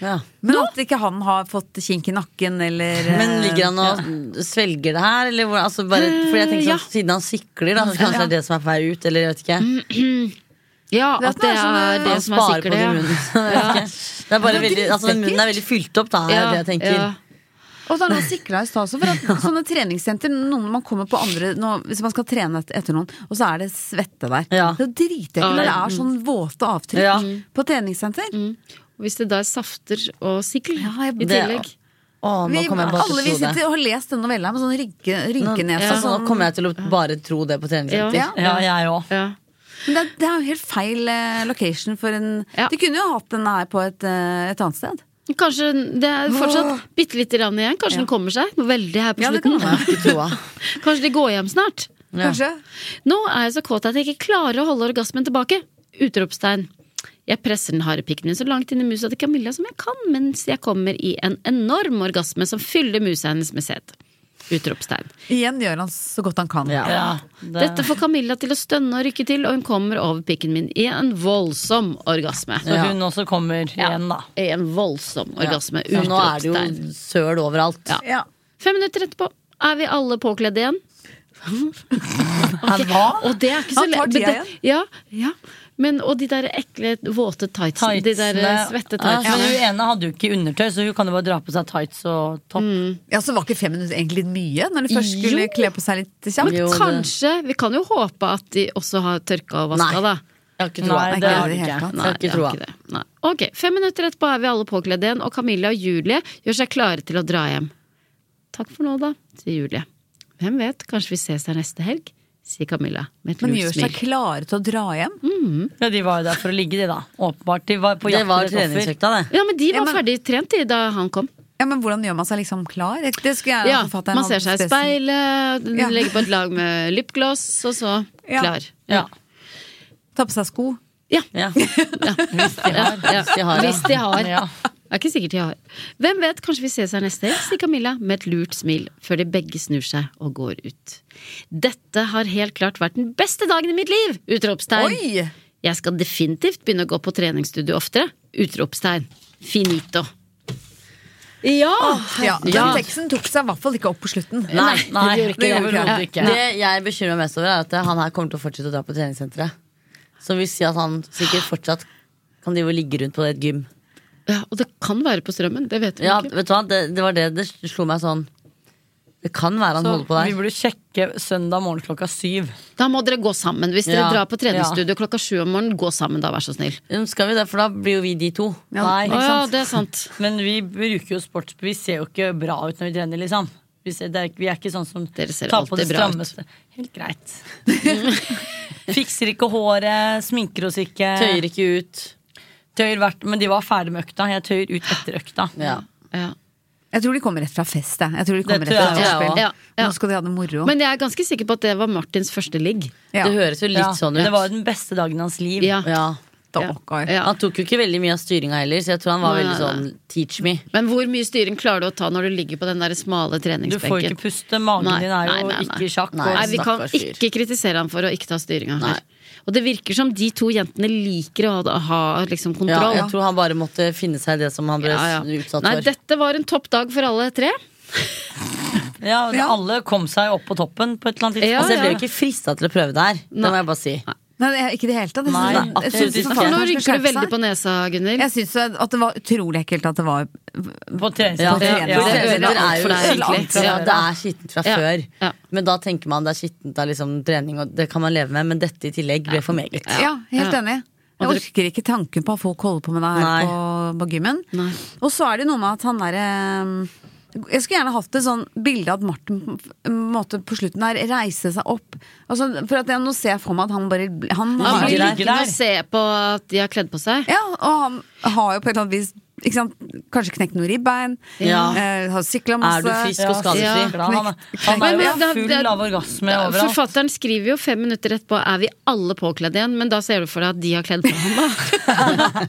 [SPEAKER 5] ja.
[SPEAKER 1] Men at ikke han har fått kink i nakken, eller eh,
[SPEAKER 5] Men ligger han og svelger det her, eller hvor, altså bare, For jeg tenker
[SPEAKER 2] Eh, ja.
[SPEAKER 5] sånn, siden han sikler, da, så kanskje det er det som er på vei ut, eller jeg vet ikke.
[SPEAKER 2] Ja, at det er det
[SPEAKER 5] Han
[SPEAKER 2] som er
[SPEAKER 5] sparer
[SPEAKER 2] sikkert
[SPEAKER 5] på
[SPEAKER 2] det.
[SPEAKER 5] det i
[SPEAKER 2] ja.
[SPEAKER 5] munnen. Jeg vet ikke. Det er bare veldig, altså, den munnen er veldig fylt opp, da, er
[SPEAKER 2] Ja,
[SPEAKER 5] det jeg tenker.
[SPEAKER 2] ja.
[SPEAKER 1] Og så er det noe sikla i stad også. For at sånne treningssenter, noen man kommer på andre nå, Hvis man skal trene et- etter noen, og så er det svette der.
[SPEAKER 5] Ja.
[SPEAKER 1] Det er dritekkelt når det er sånn våte avtrykk
[SPEAKER 5] Ja. Mm.
[SPEAKER 1] på treningssenter.
[SPEAKER 2] Og Hvis det da er safter og sikkel
[SPEAKER 1] Ja, jeg-
[SPEAKER 2] i
[SPEAKER 5] det-
[SPEAKER 2] tillegg.
[SPEAKER 5] Å, nå
[SPEAKER 1] Vi,
[SPEAKER 5] kommer jeg bare
[SPEAKER 1] alle vi
[SPEAKER 5] til å tro
[SPEAKER 1] sitter
[SPEAKER 5] det.
[SPEAKER 1] og har lest denne novella med sånn rynke,
[SPEAKER 5] Nå,
[SPEAKER 1] rynkenese.
[SPEAKER 5] altså, nå
[SPEAKER 1] sånn,
[SPEAKER 5] kommer jeg til å bare tro det på treningssenter.
[SPEAKER 1] Ja.
[SPEAKER 6] Ja, jeg òg.
[SPEAKER 2] Ja.
[SPEAKER 1] men det, det er jo helt feil eh, location for en
[SPEAKER 2] Ja.
[SPEAKER 1] Du kunne jo hatt den her på et, eh, et annet sted.
[SPEAKER 2] Kanskje det er fortsatt bitte lite grann igjen. Kanskje den kommer seg. Veldig her på
[SPEAKER 1] Ja, det
[SPEAKER 2] slutten.
[SPEAKER 1] kan være.
[SPEAKER 5] Ikke troa.
[SPEAKER 2] Kanskje de går hjem snart.
[SPEAKER 1] Kanskje.
[SPEAKER 2] Nå er jeg så kåt at jeg ikke klarer å holde orgasmen tilbake. Utropstegn. Jeg presser den harde pikken min så langt inn i musa til Camilla som jeg kan, mens jeg kommer i en enorm orgasme som fyller musa hennes med sæd. Utropstegn.
[SPEAKER 1] Igjen gjør han så godt han kan.
[SPEAKER 5] Ja.
[SPEAKER 6] Ja, det-
[SPEAKER 2] Dette får Camilla til å stønne og rykke til, og hun kommer over pikken min i en voldsom orgasme.
[SPEAKER 6] Så hun også kommer igjen, da.
[SPEAKER 2] I en voldsom orgasme.
[SPEAKER 5] Så nå er det
[SPEAKER 2] Utropstegn.
[SPEAKER 5] jo søl overalt.
[SPEAKER 1] Ja.
[SPEAKER 2] Fem minutter etterpå er vi alle påkledd igjen.
[SPEAKER 6] Han var
[SPEAKER 2] Og det er ikke så
[SPEAKER 1] Han tar
[SPEAKER 2] lett. men
[SPEAKER 1] tida
[SPEAKER 2] det- Ja, ja. Men, og de der ekle, våte tightsene. De der eh, svette
[SPEAKER 6] Ja, men
[SPEAKER 2] tightsene.
[SPEAKER 6] Hun ene hadde jo ikke undertøy, så hun kan jo bare dra på seg tights og topp.
[SPEAKER 5] Mm.
[SPEAKER 1] Ja, Så var ikke fem minutter egentlig litt mye? Når du først skulle
[SPEAKER 2] Jo.
[SPEAKER 1] kle på seg litt kjapt?
[SPEAKER 2] Men kanskje Vi kan jo håpe at de også har tørka og vaska,
[SPEAKER 5] Nei.
[SPEAKER 2] da.
[SPEAKER 5] Jeg har ikke
[SPEAKER 6] Nei,
[SPEAKER 5] troa.
[SPEAKER 6] det
[SPEAKER 5] Jeg
[SPEAKER 6] har
[SPEAKER 5] har
[SPEAKER 6] vi
[SPEAKER 5] ikke.
[SPEAKER 1] helt tatt.
[SPEAKER 5] Jeg
[SPEAKER 2] Nei,
[SPEAKER 5] har
[SPEAKER 2] jeg
[SPEAKER 5] ikke troa.
[SPEAKER 2] har ikke det. Nei. Ok, Fem minutter etterpå er vi alle påkledd igjen, og Camilla og Julie gjør seg klare til å dra hjem. Takk for nå, da, sier Julie. Hvem vet, kanskje vi ses her neste helg, sier Camilla med et
[SPEAKER 1] Men
[SPEAKER 2] lurt
[SPEAKER 1] gjør seg
[SPEAKER 2] smil.
[SPEAKER 1] klare til å dra hjem?
[SPEAKER 6] Ja, de var jo der for å ligge, de, da. Åpenbart. De var på
[SPEAKER 5] Det
[SPEAKER 6] jakt
[SPEAKER 5] var
[SPEAKER 6] etter et offer.
[SPEAKER 5] treningsøkta, det.
[SPEAKER 2] Ja, men de
[SPEAKER 1] Ja,
[SPEAKER 2] var
[SPEAKER 1] men-
[SPEAKER 2] ferdig trent de da han kom.
[SPEAKER 1] Ja, Men hvordan gjør man seg liksom klar? Det skulle jeg
[SPEAKER 2] Ja,
[SPEAKER 1] ha forfattet en
[SPEAKER 2] Man ser
[SPEAKER 1] annen
[SPEAKER 2] seg i
[SPEAKER 1] spes-
[SPEAKER 2] speilet,
[SPEAKER 1] Ja.
[SPEAKER 2] legger på et lag med lipgloss, og så
[SPEAKER 1] Ja.
[SPEAKER 2] klar.
[SPEAKER 6] Ja.
[SPEAKER 1] Ta på seg sko.
[SPEAKER 2] Ja.
[SPEAKER 5] Ja. Hvis de har.
[SPEAKER 2] Ja,
[SPEAKER 5] Hvis de har, ja.
[SPEAKER 2] Hvis de har.
[SPEAKER 6] Ja.
[SPEAKER 2] Det er ikke sikkert de har. Hvem vet, kanskje vi ses her neste helg, sier Camilla med et lurt smil, før de begge snur seg og går ut. Dette har helt klart vært den beste dagen i mitt liv! Utropstegn.
[SPEAKER 1] Oi!
[SPEAKER 2] Jeg skal definitivt begynne å gå på treningsstudio oftere. Utropstegn. Finito. Ja!
[SPEAKER 1] Ja, Den
[SPEAKER 2] Ja.
[SPEAKER 1] teksten tok seg i hvert fall ikke opp på slutten.
[SPEAKER 5] Nei, nei,
[SPEAKER 6] det gjorde ikke det.
[SPEAKER 1] overhodet
[SPEAKER 6] ikke.
[SPEAKER 5] Det jeg bekymrer meg mest over, er at han her kommer til å fortsette å dra på treningssenteret. Som vil si at han sikkert fortsatt kan drive og ligge rundt på et gym.
[SPEAKER 2] Ja, og det kan være på strømmen, det vet vi
[SPEAKER 5] Ja,
[SPEAKER 2] ikke.
[SPEAKER 5] vet du hva, det, det var det det slo meg sånn Det kan være han
[SPEAKER 6] Så
[SPEAKER 5] holder på
[SPEAKER 6] vi
[SPEAKER 5] der.
[SPEAKER 6] burde sjekke søndag morgen klokka syv.
[SPEAKER 2] Da må dere gå sammen. Hvis dere
[SPEAKER 6] Ja,
[SPEAKER 2] drar på treningsstudio klokka sju om morgenen, gå sammen da, vær så snill.
[SPEAKER 5] Mm, Skal vi det, for da blir jo vi de to.
[SPEAKER 6] Nei,
[SPEAKER 2] Å
[SPEAKER 6] ikke
[SPEAKER 2] ja,
[SPEAKER 6] sant?
[SPEAKER 2] det er sant.
[SPEAKER 6] Men vi bruker jo sports... Vi ser jo ikke bra ut når vi trener, liksom. Vi, ser, det er, ikke- vi er ikke sånn som
[SPEAKER 2] Dere ser
[SPEAKER 6] tar på
[SPEAKER 2] alltid
[SPEAKER 6] det
[SPEAKER 2] bra ut.
[SPEAKER 6] strammeste. Helt greit. Fikser ikke håret, sminker oss ikke.
[SPEAKER 5] Tøyer ikke ut.
[SPEAKER 6] Tøyer hvert, men de var ferdig med økta. Jeg tøyer ut etter økta.
[SPEAKER 5] Ja.
[SPEAKER 2] Ja.
[SPEAKER 1] Jeg tror de kommer rett fra fest. jeg. Jeg tror de kommer
[SPEAKER 6] Det
[SPEAKER 1] rett fra
[SPEAKER 6] tror jeg
[SPEAKER 5] også.
[SPEAKER 1] nachspiel.
[SPEAKER 2] Ja, ja.
[SPEAKER 1] Nå skal de ha det moro.
[SPEAKER 2] Men jeg er ganske sikker på at det var Martins første ligg.
[SPEAKER 1] ja.
[SPEAKER 5] Det høres jo litt
[SPEAKER 6] Ja,
[SPEAKER 5] sånn ut.
[SPEAKER 6] Det var jo den beste dagen i hans liv.
[SPEAKER 2] Ja.
[SPEAKER 5] ja.
[SPEAKER 1] Stakkar.
[SPEAKER 2] Ja.
[SPEAKER 5] Han tok jo ikke veldig mye av styringa heller, så jeg tror han var
[SPEAKER 2] Nei,
[SPEAKER 5] veldig
[SPEAKER 2] nei,
[SPEAKER 5] sånn teach me.
[SPEAKER 2] Men hvor mye styring klarer du å ta når du ligger på den der smale
[SPEAKER 6] Du får jo
[SPEAKER 2] treningsbenken?
[SPEAKER 6] ikke puste. Magen
[SPEAKER 2] Nei,
[SPEAKER 6] din er
[SPEAKER 2] nei,
[SPEAKER 6] jo
[SPEAKER 2] nei,
[SPEAKER 6] ikke i sjakk. altså.
[SPEAKER 5] Nei,
[SPEAKER 2] Nei,
[SPEAKER 6] og-
[SPEAKER 2] vi kan
[SPEAKER 5] Stakkars fyr.
[SPEAKER 2] ikke kritisere ham for å ikke ta styringa her. Og det virker som de to jentene liker å ha- ha liksom
[SPEAKER 5] Ja,
[SPEAKER 2] kontroll.
[SPEAKER 5] jeg tror han bare måtte finne seg i det som han ble
[SPEAKER 2] Ja, ja.
[SPEAKER 5] utsatt
[SPEAKER 2] Nei,
[SPEAKER 5] for.
[SPEAKER 2] dette var en topp dag for alle tre.
[SPEAKER 6] Ja, og
[SPEAKER 1] Ja.
[SPEAKER 6] Alle kom seg opp på toppen på et eller annet
[SPEAKER 2] Ja,
[SPEAKER 5] Altså, jeg
[SPEAKER 2] ja.
[SPEAKER 5] ble jo ikke frista til å prøve det her. Det
[SPEAKER 2] Nei.
[SPEAKER 5] må jeg bare si.
[SPEAKER 1] Nei, det er ikke i det hele tatt. Jeg
[SPEAKER 6] Nei,
[SPEAKER 1] synes- jeg
[SPEAKER 6] absolutt
[SPEAKER 1] synes
[SPEAKER 6] ikke.
[SPEAKER 1] faktisk
[SPEAKER 2] Nå
[SPEAKER 1] man skal
[SPEAKER 2] rynker du
[SPEAKER 1] skjerpe
[SPEAKER 2] veldig
[SPEAKER 1] seg.
[SPEAKER 2] på nesa, Gunhild.
[SPEAKER 1] Jeg syns at det var utrolig ekkelt at det var
[SPEAKER 6] tidspunkt. På treningssenteret.
[SPEAKER 1] På
[SPEAKER 5] Ja, ja,
[SPEAKER 1] trening.
[SPEAKER 5] ja.
[SPEAKER 1] Det ødelegger
[SPEAKER 5] Det er
[SPEAKER 1] alt
[SPEAKER 5] jo
[SPEAKER 1] for deg,
[SPEAKER 5] skittent.
[SPEAKER 1] egentlig.
[SPEAKER 5] Ja, det er skittent fra
[SPEAKER 2] Ja,
[SPEAKER 5] før.
[SPEAKER 2] ja.
[SPEAKER 5] Men da tenker man det er skittent av liksom trening, og det kan man leve med, men dette i tillegg ble for meget.
[SPEAKER 1] Ja, helt
[SPEAKER 2] Ja.
[SPEAKER 1] enig. Jeg
[SPEAKER 2] Og dere-
[SPEAKER 1] orker ikke tanken på at folk holder på med det her
[SPEAKER 5] Nei.
[SPEAKER 1] på, på gymmen.
[SPEAKER 2] Nei.
[SPEAKER 1] Og så er det noe med at han derre ehm, jeg skulle gjerne hatt et sånn bilde at Martin på en måte på slutten der reiste seg opp. Altså, for at jeg, Nå ser jeg for meg at han bare Han,
[SPEAKER 2] Han
[SPEAKER 1] har,
[SPEAKER 2] blir
[SPEAKER 6] ligger
[SPEAKER 2] liggende
[SPEAKER 6] der.
[SPEAKER 2] og se på at de har kledd på seg.
[SPEAKER 1] ja, og han har jo på et eller annet vis ikke sant, kanskje knekt noen ribbein.
[SPEAKER 5] Ja.
[SPEAKER 1] Eh, har sykla
[SPEAKER 5] Er
[SPEAKER 1] masse.
[SPEAKER 5] du frisk og
[SPEAKER 6] Ja.
[SPEAKER 5] skadefri?
[SPEAKER 6] Han, er- han
[SPEAKER 2] Men-
[SPEAKER 6] er
[SPEAKER 2] men det-
[SPEAKER 6] jo
[SPEAKER 2] det-
[SPEAKER 6] full av orgasme overalt.
[SPEAKER 2] Forfatteren skriver jo fem minutter etterpå er vi alle påkledd igjen, men da ser du for deg at de har kledd på ham, da.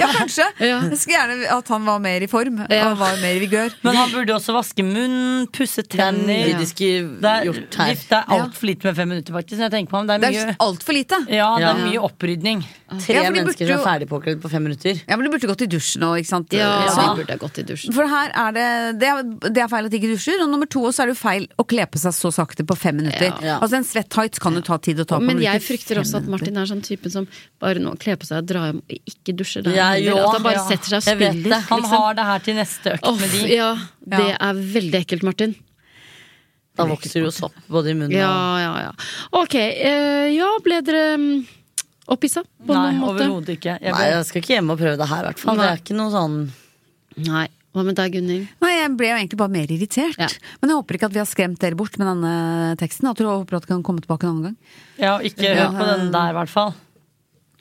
[SPEAKER 1] Ja, kanskje.
[SPEAKER 2] Ja.
[SPEAKER 1] Jeg skulle gjerne at han var mer i form
[SPEAKER 2] Ja.
[SPEAKER 1] og var mer i vigør.
[SPEAKER 6] Men han burde også vaske munnen, pusse
[SPEAKER 5] Det er
[SPEAKER 6] tenner.
[SPEAKER 5] mye de
[SPEAKER 6] Mm. Det
[SPEAKER 5] skulle
[SPEAKER 6] er,
[SPEAKER 5] gjort her.
[SPEAKER 6] gift, det er altfor lite med fem minutter, faktisk. når Jeg tenker på ham. Det er
[SPEAKER 1] Det
[SPEAKER 6] mye,
[SPEAKER 1] er altfor lite.
[SPEAKER 6] ja, det er
[SPEAKER 5] Ja.
[SPEAKER 6] mye opprydning.
[SPEAKER 5] Tre
[SPEAKER 1] Ja, for de
[SPEAKER 5] mennesker
[SPEAKER 1] burde
[SPEAKER 5] som er
[SPEAKER 1] jo-
[SPEAKER 5] ferdig påkledd på fem minutter.
[SPEAKER 1] Ja, men Du burde gått i dusjen og ikke sant? eh,
[SPEAKER 2] Ja,
[SPEAKER 1] Så-
[SPEAKER 2] så de burde ha gått i dusjen.
[SPEAKER 1] For her er det, det er, det er feil at de ikke dusjer. Og nummer to så er det jo feil å kle på seg så sakte på fem minutter.
[SPEAKER 5] Ja.
[SPEAKER 1] Altså En svett tights kan jo ta tid å ta på.
[SPEAKER 2] Men
[SPEAKER 1] det
[SPEAKER 2] jeg
[SPEAKER 1] ikke
[SPEAKER 2] frykter
[SPEAKER 1] fem
[SPEAKER 2] også at Martin er sånn typen som bare nå kler på seg og drar hjem og ikke dusjer. Da,
[SPEAKER 5] Ja,
[SPEAKER 2] heller.
[SPEAKER 5] jo,
[SPEAKER 2] at han bare
[SPEAKER 5] ja.
[SPEAKER 2] setter seg og
[SPEAKER 5] Jeg vet
[SPEAKER 2] spiller.
[SPEAKER 5] det.
[SPEAKER 6] Han
[SPEAKER 2] liksom.
[SPEAKER 6] har det her til neste økt
[SPEAKER 2] Åh,
[SPEAKER 6] med de.
[SPEAKER 2] ja, det er veldig ekkelt, Martin.
[SPEAKER 5] Da vokser det jo sopp både i munnen
[SPEAKER 2] Ja,
[SPEAKER 5] og
[SPEAKER 2] ja, ja. Ok, eh, ja, ble dere mm, opphissa på
[SPEAKER 6] Nei,
[SPEAKER 2] noen måte?
[SPEAKER 6] overhodet ikke. Jeg
[SPEAKER 5] Nei,
[SPEAKER 6] ble,
[SPEAKER 5] jeg skal ikke hjem og prøve det her, i hvert fall. Det
[SPEAKER 2] Nei.
[SPEAKER 5] er ikke noe sånn
[SPEAKER 2] Nei. Hva med deg, Gunhild?
[SPEAKER 1] Nei, Jeg ble jo egentlig bare mer irritert.
[SPEAKER 2] Ja.
[SPEAKER 1] Men jeg håper ikke at vi har skremt dere bort med denne teksten. Jeg tror jeg håper at det kan komme tilbake en annen gang.
[SPEAKER 6] ja, ikke hør på den der, i hvert fall.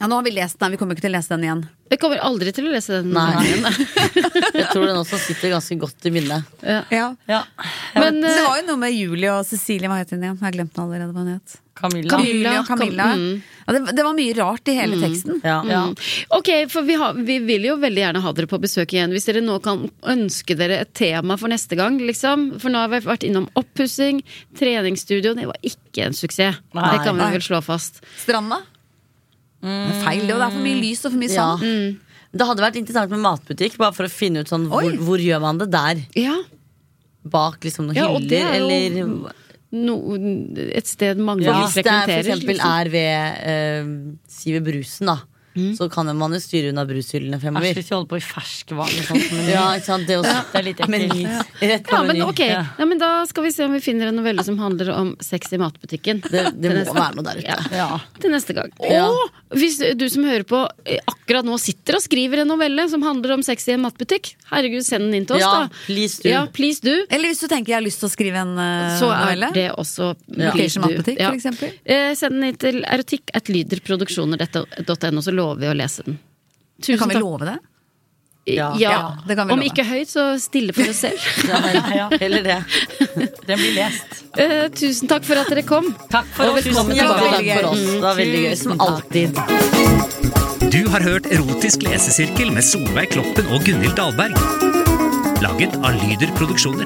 [SPEAKER 1] Ja, Nå har vi lest den, vi kommer ikke til å lese den igjen.
[SPEAKER 2] Jeg kommer aldri til å lese den.
[SPEAKER 5] Nei.
[SPEAKER 2] igjen.
[SPEAKER 5] Jeg tror den også sitter ganske godt i minnet.
[SPEAKER 1] Ja.
[SPEAKER 6] Ja.
[SPEAKER 2] Men
[SPEAKER 1] Men det
[SPEAKER 2] eh,
[SPEAKER 1] var jo noe med Julie og Cecilie, hva het hun igjen? Jeg har glemt den allerede hva hun het.
[SPEAKER 6] Camilla.
[SPEAKER 2] Camilla.
[SPEAKER 1] Julie og Camilla. Mm.
[SPEAKER 2] Cam- mm.
[SPEAKER 1] Ja, det, det var mye rart i hele teksten.
[SPEAKER 5] Ja.
[SPEAKER 6] Ja.
[SPEAKER 2] Ok, for vi, har, vi vil jo veldig gjerne ha dere på besøk igjen. Hvis dere nå kan ønske dere et tema for neste gang, liksom. For nå har vi vært innom oppussing, treningsstudio. Det var ikke en suksess.
[SPEAKER 6] Nei.
[SPEAKER 2] Det kan vi
[SPEAKER 1] Nei.
[SPEAKER 2] vel slå fast.
[SPEAKER 1] Stranda? Det er feil, det. Og det er for mye lys og for mye
[SPEAKER 5] Ja.
[SPEAKER 1] sand.
[SPEAKER 2] Mm.
[SPEAKER 5] Det hadde vært interessant med matbutikk, bare for å finne ut sånn hvor,
[SPEAKER 1] Oi.
[SPEAKER 5] hvor gjør man det der.
[SPEAKER 2] Ja,
[SPEAKER 5] bak liksom noen
[SPEAKER 2] Ja, og det
[SPEAKER 5] hyller,
[SPEAKER 2] er jo
[SPEAKER 5] eller
[SPEAKER 2] No, et sted mange
[SPEAKER 5] Ja, Hvis det er, for
[SPEAKER 2] frekventerer.
[SPEAKER 5] eksempel
[SPEAKER 2] liksom.
[SPEAKER 5] er ved eh, Si ved brusen, da.
[SPEAKER 2] Mm.
[SPEAKER 5] Så kan man jo styre unna brushyllene
[SPEAKER 6] Æsj,
[SPEAKER 5] fremover.
[SPEAKER 6] hvis vi holder på i ferskvann og sånt. Men
[SPEAKER 5] Ja, ikke sant, det også.
[SPEAKER 6] det er litt
[SPEAKER 5] Men,
[SPEAKER 6] ekkelt.
[SPEAKER 5] rett på
[SPEAKER 2] Ja, men
[SPEAKER 5] meny.
[SPEAKER 2] ok.
[SPEAKER 6] Ja.
[SPEAKER 2] Ja, men da skal vi se om vi finner en novelle som handler om sex i matbutikken.
[SPEAKER 5] Det,
[SPEAKER 2] Til
[SPEAKER 5] det må
[SPEAKER 2] neste-
[SPEAKER 5] være noe der
[SPEAKER 2] Ja.
[SPEAKER 5] ute.
[SPEAKER 6] Ja.
[SPEAKER 2] Til neste gang.
[SPEAKER 5] Ja.
[SPEAKER 2] Og hvis du som hører på eh, akkurat nå sitter og skriver en novelle som handler om sex i en matbutikk, herregud, send den inn til oss,
[SPEAKER 5] Ja,
[SPEAKER 2] da.
[SPEAKER 5] please do.
[SPEAKER 2] Ja, please do.
[SPEAKER 1] Eller hvis du tenker jeg har lyst til å skrive en eh,
[SPEAKER 2] Så er
[SPEAKER 1] novelle.
[SPEAKER 2] det også please
[SPEAKER 1] Location
[SPEAKER 2] do.
[SPEAKER 1] matbutikk,
[SPEAKER 2] Ja.
[SPEAKER 1] for eksempel.
[SPEAKER 2] Eh, Send den inn til erotikk.lyderproduksjoner.no, så lover vi å lese den. Tusen
[SPEAKER 1] Kan vi
[SPEAKER 2] takk.
[SPEAKER 1] love det?
[SPEAKER 2] Ja.
[SPEAKER 1] Ja, det kan vi
[SPEAKER 2] Om
[SPEAKER 1] love.
[SPEAKER 2] ikke høyt, så stille for oss selv.
[SPEAKER 6] Ja, ja.
[SPEAKER 5] Eller det.
[SPEAKER 6] Den blir lest.
[SPEAKER 2] Eh, tusen takk for at dere kom.
[SPEAKER 6] Takk for
[SPEAKER 5] Og
[SPEAKER 6] oss.
[SPEAKER 5] velkommen
[SPEAKER 6] Tusen takk.
[SPEAKER 5] tilbake
[SPEAKER 1] veldig
[SPEAKER 5] for
[SPEAKER 1] gøy.
[SPEAKER 5] oss. Det var veldig gøy,
[SPEAKER 6] Tusen
[SPEAKER 5] som
[SPEAKER 6] takk.
[SPEAKER 5] alltid.
[SPEAKER 4] Du har hørt Erotisk lesesirkel med Solveig Kloppen og Gunhild Dahlberg. Laget av Lyder Produksjoner.